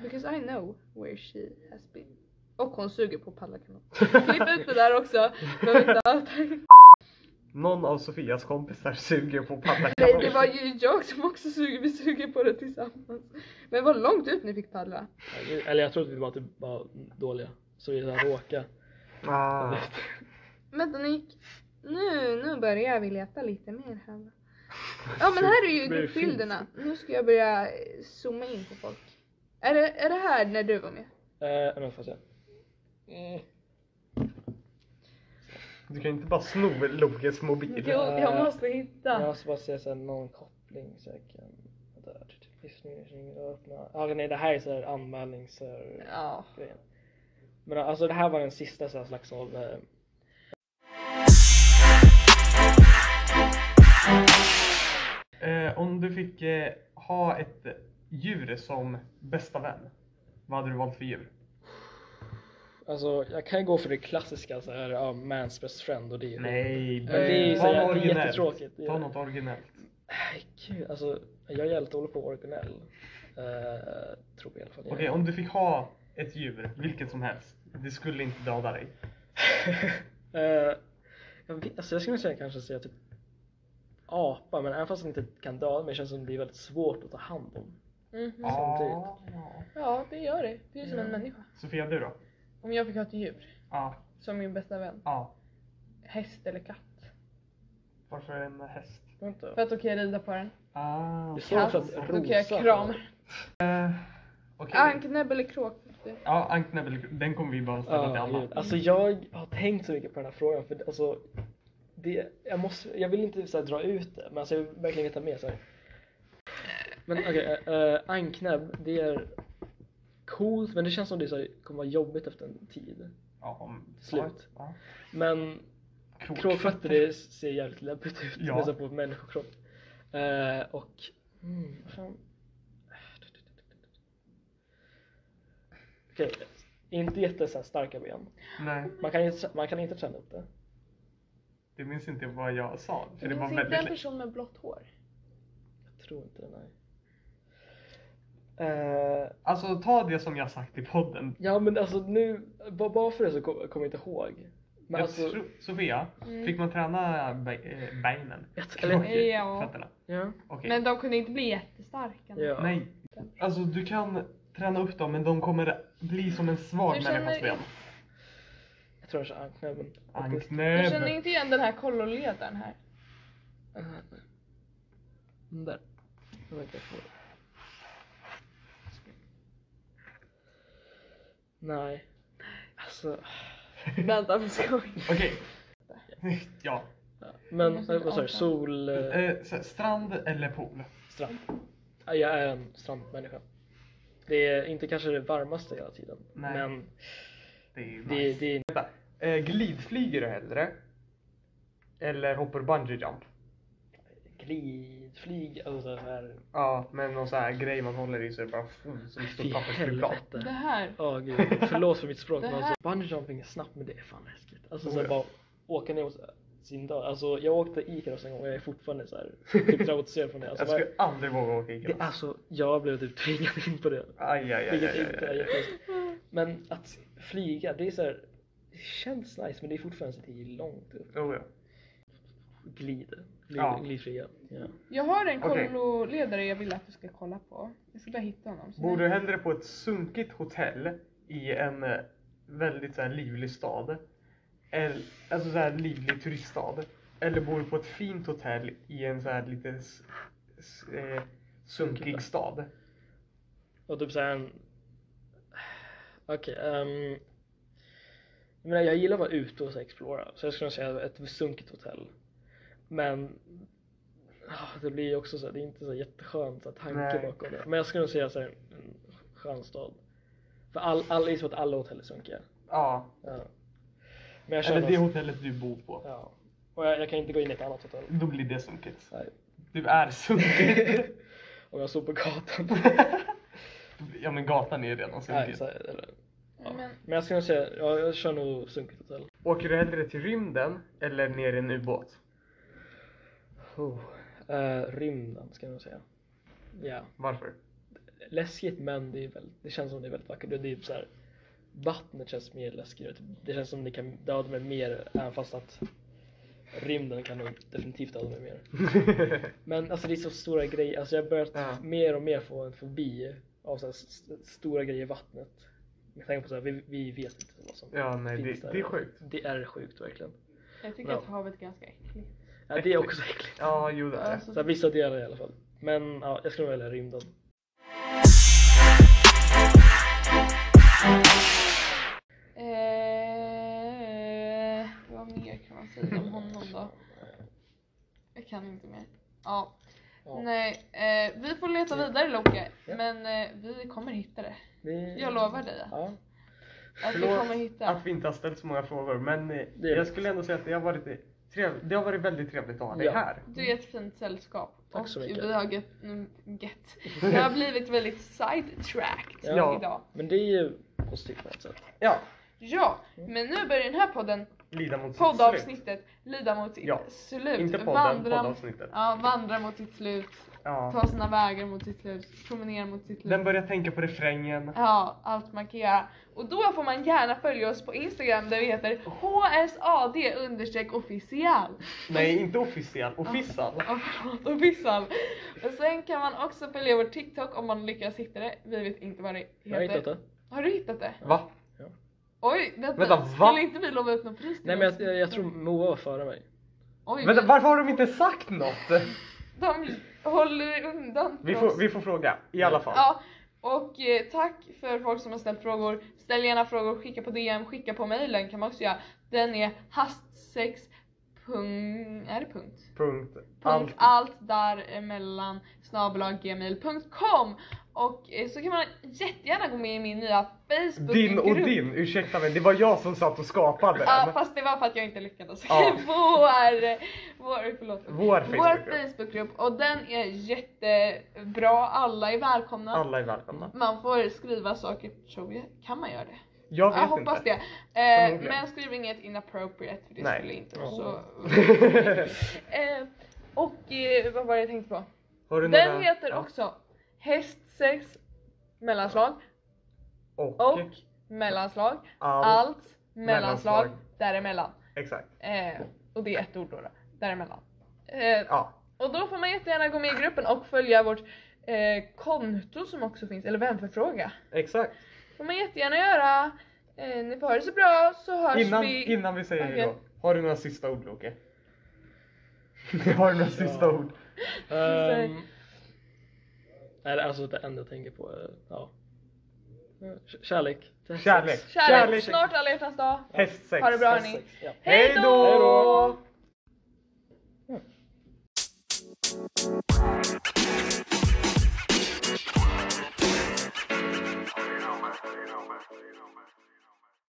[SPEAKER 1] Because I know where she has been. Och hon suger på pallakanot. Klipp ut det där också. Men vänta.
[SPEAKER 2] Någon av Sofias kompisar suger på
[SPEAKER 1] Nej, det
[SPEAKER 2] paddakanonen.
[SPEAKER 1] var ju jag som också suger. Vi suger på det tillsammans. Men vad långt ut ni fick paddla.
[SPEAKER 3] Eller- Eller jag tror att vi bara typ var dåliga. Så vi såhär råka.
[SPEAKER 2] Ah,
[SPEAKER 1] Vänta Nick. Nu, nu börjar vi leta lite mer här. Ja men här är ju
[SPEAKER 3] Men det finns.
[SPEAKER 1] gruppbilderna. Nu ska jag börja eh, zooma in på folk. Är det, är det här när du var med?
[SPEAKER 3] Eh, men får jag se. Mm.
[SPEAKER 2] du kan inte bara sno Lokes mobil.
[SPEAKER 1] Jo, jag måste hitta.
[SPEAKER 3] Jag måste bara se såhär någon koppling så jag kan... Vänta, typ listning, öppna. Ah, nej det här är såhär anmälnings... eh,
[SPEAKER 1] Ja.
[SPEAKER 3] grejen. Men alltså det här var den sista så här, slags av... Eh,
[SPEAKER 2] Eh, om du fick eh, ha ett djur som bästa vän, vad hade du valt för djur?
[SPEAKER 3] alltså jag kan ju gå för det klassiska såhär, ja, man's best friend och det är
[SPEAKER 2] Nej,
[SPEAKER 3] Men det är ju
[SPEAKER 2] Eh, ta
[SPEAKER 3] så
[SPEAKER 2] något
[SPEAKER 3] jävla- det är
[SPEAKER 2] originellt.
[SPEAKER 3] jättetråkigt.
[SPEAKER 2] Ta något originellt.
[SPEAKER 3] Nej, gud, alltså jag är jävligt dålig på originell. Eh, tror jag i alla fall.
[SPEAKER 2] Okej, om du fick ha ett djur, vilket som helst, det skulle inte döda dig.
[SPEAKER 3] Eh, jag, vet, alltså jag skulle säga kanske säga typ apa, men även fast den inte kan döda mig känns det som det är väldigt svårt att ta hand om.
[SPEAKER 1] Mhm.
[SPEAKER 2] Ah.
[SPEAKER 3] Samtidigt.
[SPEAKER 1] Ja, det gör det. Det är som en
[SPEAKER 3] Ja.
[SPEAKER 1] människa.
[SPEAKER 2] Sofia, du då?
[SPEAKER 1] Om jag fick ha ett djur
[SPEAKER 2] Ja,
[SPEAKER 1] som min bästa vän,
[SPEAKER 2] ja.
[SPEAKER 1] häst eller katt.
[SPEAKER 2] Varför en häst?
[SPEAKER 1] För att då kan jag rida på den.
[SPEAKER 2] Ah,
[SPEAKER 3] Det är svårt
[SPEAKER 1] Katt,
[SPEAKER 3] att rosa.
[SPEAKER 1] då kan jag krama.
[SPEAKER 2] Eh, Okej.
[SPEAKER 1] Anknäbb eller kråkfötter.
[SPEAKER 2] Ja, anknäbbel, den kommer vi bara ställa till
[SPEAKER 3] Ja,
[SPEAKER 2] alla.
[SPEAKER 3] gud. Alltså jag har tänkt så mycket på den här frågan för det- alltså det, jag, måste, jag vill inte så här, dra ut det men alltså, jag vill verkligen veta mer. Så här. Men okej, okay, anknäbb det är coolt men det känns som det är så här, kommer vara jobbigt efter en tid.
[SPEAKER 2] Ja, om-
[SPEAKER 3] Slut.
[SPEAKER 2] Ja.
[SPEAKER 3] Men
[SPEAKER 2] Krok.
[SPEAKER 3] Kråkfötter det ser jävligt läbbigt ut
[SPEAKER 2] Ja.
[SPEAKER 3] nästan på en människokropp. Eh, och... Mm, vad fan. Okej, inte jätte så här, starka ben.
[SPEAKER 2] Nej,
[SPEAKER 3] Man kan, inte- man kan inte träna upp det.
[SPEAKER 2] det minns inte vad jag sa. För det
[SPEAKER 1] Det
[SPEAKER 2] var
[SPEAKER 1] finns inte en
[SPEAKER 2] väldigt...
[SPEAKER 1] person med blått hår.
[SPEAKER 3] Jag tror inte det, nej. Eh,
[SPEAKER 2] Alltså ta det som jag sagt i podden.
[SPEAKER 3] ja men alltså nu, ba- bara för det så kom- kommer jag inte ihåg.
[SPEAKER 2] Jag
[SPEAKER 3] Men alltså,
[SPEAKER 2] tror- Sofia,
[SPEAKER 1] Mm.
[SPEAKER 2] fick man träna be- eh, beinen?
[SPEAKER 3] ett,
[SPEAKER 2] Klockan,
[SPEAKER 3] eller,
[SPEAKER 1] Ja.
[SPEAKER 2] Fötterna?
[SPEAKER 3] ja,
[SPEAKER 2] Okej.
[SPEAKER 1] Men de kunde inte bli jättestarka.
[SPEAKER 3] ja.
[SPEAKER 2] Nej. Alltså du kan träna upp dem men de kommer bli som en svag
[SPEAKER 1] Du
[SPEAKER 2] människas
[SPEAKER 1] känner-
[SPEAKER 2] ben.
[SPEAKER 3] Jag tror jag kör anknäven. faktiskt.
[SPEAKER 1] Jag känner
[SPEAKER 2] Anknöb.
[SPEAKER 1] inte igen den här kolloledaren här.
[SPEAKER 3] Den Mm, där. Jag vet inte vad det är. Nej. Alltså.
[SPEAKER 1] Vänta för skoj.
[SPEAKER 2] Okej. ja.
[SPEAKER 3] ja. Men
[SPEAKER 1] måste
[SPEAKER 3] eh,
[SPEAKER 1] inte
[SPEAKER 3] vad sa du?
[SPEAKER 1] orka.
[SPEAKER 3] Sol, eh,
[SPEAKER 2] Eh, så här, strand eller pool?
[SPEAKER 3] strand. Ja, Jag är en strandmänniska. Det är inte kanske det varmaste hela tiden.
[SPEAKER 2] Nej.
[SPEAKER 3] Men
[SPEAKER 2] Det är ju nice.
[SPEAKER 3] det, det är...
[SPEAKER 2] Vänta. Eh, glidflyger du hellre? Eller hoppar du bungee jump?
[SPEAKER 3] Glidflyg, alltså så här.
[SPEAKER 2] Ja, men någon sån här grej man håller i så är det bara full som ett
[SPEAKER 3] Fy
[SPEAKER 2] stort pappersflygplan.
[SPEAKER 1] Det
[SPEAKER 3] helvete.
[SPEAKER 1] här.
[SPEAKER 3] Ja gud, förlåt för mitt språk
[SPEAKER 1] Det
[SPEAKER 3] men
[SPEAKER 1] här-
[SPEAKER 3] alltså bungee jumping är snabbt men det är fan läskigt. Alltså
[SPEAKER 2] Oh,
[SPEAKER 3] så här,
[SPEAKER 2] ja.
[SPEAKER 3] bara åka ner mot sin dörr. Alltså jag åkte Ikaros en gång och jag är fortfarande så här, typ traumatiserad från det. Alltså,
[SPEAKER 2] Jag skulle aldrig våga åka
[SPEAKER 3] bara, det
[SPEAKER 2] Ica.
[SPEAKER 3] alltså jag blev typ tvingad in på det.
[SPEAKER 2] Aj, aj, aj, aj,
[SPEAKER 3] Vilket
[SPEAKER 2] aj,
[SPEAKER 3] inte
[SPEAKER 2] aj,
[SPEAKER 3] är
[SPEAKER 2] aj.
[SPEAKER 3] jätteläskigt. Men att flyga, det är så här, det känns nice men det är fortfarande så att det är långt upp.
[SPEAKER 2] Oh, ja.
[SPEAKER 3] Glid. glid
[SPEAKER 2] Ja.
[SPEAKER 3] Glidflyga. Ja.
[SPEAKER 1] Jag har en
[SPEAKER 2] Okej.
[SPEAKER 1] kolloledare jag vill att du ska kolla på. Jag ska bara hitta honom. Så
[SPEAKER 2] Bor du
[SPEAKER 1] nu-
[SPEAKER 2] hellre på ett sunkigt hotell i en eh, väldigt så här, livlig stad? Eller, alltså så här livlig turiststad. Eller bor du på ett fint hotell i en så här lite s- s- eh, sunkig stad?
[SPEAKER 3] Och typ såhär en... Okej, ehm... Jag menar jag gillar att vara ute och så här explora. Så jag skulle nog säga ett sunkigt hotell. Men... ah, Det blir ju också så här, det är inte så här jätteskönt så här tanke
[SPEAKER 2] Nej.
[SPEAKER 3] bakom det. Men jag skulle nog säga så här, en skön stad. För all, all, det är så att alla hotell är sunkiga.
[SPEAKER 2] Ja.
[SPEAKER 3] Ja. Men jag
[SPEAKER 2] Eller
[SPEAKER 3] känner
[SPEAKER 2] det
[SPEAKER 3] också,
[SPEAKER 2] hotellet du bor på.
[SPEAKER 3] Ja. Och jag, jag kan inte gå in i ett annat hotell.
[SPEAKER 2] Då blir det sunkigt.
[SPEAKER 3] Nej.
[SPEAKER 2] Du är sunkig.
[SPEAKER 3] Om jag står på gatan.
[SPEAKER 2] ja men gatan är ju redan
[SPEAKER 3] Nej,
[SPEAKER 2] sunkig.
[SPEAKER 3] så här, eller, ja.
[SPEAKER 1] Men-
[SPEAKER 3] Men jag skulle nog säga, ja, jag kör nog sunkigt hotell.
[SPEAKER 2] Åker du hellre till rymden eller ner i en ubåt?
[SPEAKER 3] Oh, eh, rymden ska jag nog säga. Ja.
[SPEAKER 2] Varför?
[SPEAKER 3] Läskigt men det, är väldigt, det känns som det är väldigt vackert. Det är typ så här, vattnet känns mer läskigt. Det känns som det kan döda mig mer även fast att rymden kan nog definitivt döda mig mer. Men alltså det är så stora grejer. Alltså jag har börjat
[SPEAKER 2] Ja.
[SPEAKER 3] mer och mer få en fobi av så här, s- s- stora grejer i vattnet. Med tanke på så här, vi, vi vet inte vad som
[SPEAKER 2] ja nej
[SPEAKER 3] finns där.
[SPEAKER 2] det, det är sjukt.
[SPEAKER 3] Det är sjukt verkligen.
[SPEAKER 1] Jag tycker
[SPEAKER 3] Ja.
[SPEAKER 1] att havet är ganska äckligt.
[SPEAKER 3] Ja, det är också äckligt.
[SPEAKER 2] Ja jo det är det.
[SPEAKER 1] Alltså,
[SPEAKER 3] Så här, vissa delar i alla fall. Men ja, jag skulle nog välja rymden.
[SPEAKER 1] eh, vad mer kan man säga om honom då? Jag kan inte mer. Ja,
[SPEAKER 3] Ja.
[SPEAKER 1] nej. Eh, vi får leta vidare Loke.
[SPEAKER 3] Ja.
[SPEAKER 1] Men eh, vi kommer hitta det.
[SPEAKER 3] Det-
[SPEAKER 1] Jag lovar dig att,
[SPEAKER 3] Ja.
[SPEAKER 1] att vi
[SPEAKER 2] Förlåt
[SPEAKER 1] kommer hitta.
[SPEAKER 2] att vi inte har ställt så många frågor men eh,
[SPEAKER 3] Det är
[SPEAKER 2] jag
[SPEAKER 3] det.
[SPEAKER 2] skulle ändå säga att det har varit, trev... det har varit väldigt trevligt att ha dig
[SPEAKER 3] Ja.
[SPEAKER 2] här.
[SPEAKER 1] Du är ett fint sällskap.
[SPEAKER 3] Tack
[SPEAKER 1] och
[SPEAKER 3] så mycket.
[SPEAKER 1] Vi har get, mm, get. Vi har blivit väldigt sidetracked
[SPEAKER 3] Ja.
[SPEAKER 1] idag.
[SPEAKER 3] Men det är ju positivt på något sätt.
[SPEAKER 2] Ja,
[SPEAKER 1] Ja,
[SPEAKER 3] Mm.
[SPEAKER 1] men nu börjar den här podden,
[SPEAKER 2] lida mot sitt slut.
[SPEAKER 1] poddavsnittet, lida mot sitt
[SPEAKER 2] Ja.
[SPEAKER 1] slut.
[SPEAKER 2] Inte podden, poddavsnittet.
[SPEAKER 1] Ja, vandra mot sitt slut,
[SPEAKER 2] Ja.
[SPEAKER 1] ta sina vägar mot sitt slut, promenera mot sitt
[SPEAKER 2] Den
[SPEAKER 1] slut.
[SPEAKER 2] börjar tänka på refrängen.
[SPEAKER 1] Ja, allt man kan göra. Och då får man gärna följa oss på Instagram där vi heter HSAD understreck official.
[SPEAKER 2] Nej, inte officiell, official.
[SPEAKER 1] Ja, förlåt, och Bissal. Och sen kan man också följa vår TikTok om man lyckas hitta det. Vi vet inte vad det heter.
[SPEAKER 3] Jag har hittat det.
[SPEAKER 1] Har du hittat det?
[SPEAKER 2] Va?
[SPEAKER 1] Oj, vänta.
[SPEAKER 2] Vänta, va?
[SPEAKER 1] Skulle inte vi lova ut något pris till
[SPEAKER 3] Nej men
[SPEAKER 1] oss?
[SPEAKER 3] jag, jag, jag tror Moa var före mig.
[SPEAKER 1] Oj,
[SPEAKER 2] Vänta,
[SPEAKER 1] vi-
[SPEAKER 2] varför har de inte sagt något?
[SPEAKER 1] De håller undan
[SPEAKER 2] Vi
[SPEAKER 1] för
[SPEAKER 2] får,
[SPEAKER 1] oss.
[SPEAKER 2] vi får fråga, i alla fall.
[SPEAKER 1] Ja, och eh, tack för folk som har ställt frågor. Ställ gärna frågor, skicka på DM, skicka på mailen kan man också göra. Den är hastsex... Pung, är det punkt?
[SPEAKER 2] Punkt.
[SPEAKER 1] Punkt
[SPEAKER 2] Allt.
[SPEAKER 1] allt däremellan snabel-a gmail.com och eh, så kan man jättegärna gå med i min nya Facebook
[SPEAKER 2] Din och din, ursäkta mig, det var jag som satt och skapade
[SPEAKER 1] Ja
[SPEAKER 2] den.
[SPEAKER 1] fast det var för att jag inte lyckades.
[SPEAKER 2] Ja.
[SPEAKER 1] vår, vår, förlåt.
[SPEAKER 2] Vår
[SPEAKER 1] Vår
[SPEAKER 2] Facebookgrupp.
[SPEAKER 1] Facebookgrupp och den är jättebra, alla är välkomna.
[SPEAKER 2] Alla är välkomna.
[SPEAKER 1] Man får skriva saker tror jag. Kan man göra det?
[SPEAKER 2] Jag
[SPEAKER 1] Jag,
[SPEAKER 2] vet
[SPEAKER 1] hoppas
[SPEAKER 2] inte.
[SPEAKER 1] det. Eh,
[SPEAKER 2] Förmodligen.
[SPEAKER 1] men skriv inget inappropriate för det
[SPEAKER 2] Nej.
[SPEAKER 1] skulle inte vara
[SPEAKER 3] Ja.
[SPEAKER 1] så... eh, och eh, vad var det jag tänkte på?
[SPEAKER 2] Har du
[SPEAKER 1] Den
[SPEAKER 2] några-
[SPEAKER 1] heter
[SPEAKER 2] Ja.
[SPEAKER 1] också hästsex mellanslag
[SPEAKER 2] Och,
[SPEAKER 1] och mellanslag
[SPEAKER 2] allt.
[SPEAKER 1] allt mellanslag däremellan.
[SPEAKER 2] Exakt.
[SPEAKER 1] Eh, och det är ett ord då, då däremellan. Eh,
[SPEAKER 2] Ja.
[SPEAKER 1] och då får man jättegärna gå med i gruppen och följa vårt eh, konto som också finns, eller vänförfråga.
[SPEAKER 2] Exakt.
[SPEAKER 1] får man jättegärna göra. Eh, ni får ha det så bra så hörs
[SPEAKER 2] Innan
[SPEAKER 1] vi.
[SPEAKER 2] innan vi säger
[SPEAKER 1] Okej.
[SPEAKER 2] hejdå. Har du några sista ord Loke? Har du några sista ord?
[SPEAKER 3] Ehm, nej, det är alltså det enda jag tänker på. eh, Ja. K- Kärlek.
[SPEAKER 2] Kärlek.
[SPEAKER 1] Kärlek,
[SPEAKER 2] Kärlek.
[SPEAKER 1] snart alla hjärtans dag.
[SPEAKER 2] Hästsex.
[SPEAKER 1] Ha det bra hörni.
[SPEAKER 3] Sex, ja.
[SPEAKER 1] Hej
[SPEAKER 2] Hej
[SPEAKER 1] då!
[SPEAKER 2] då!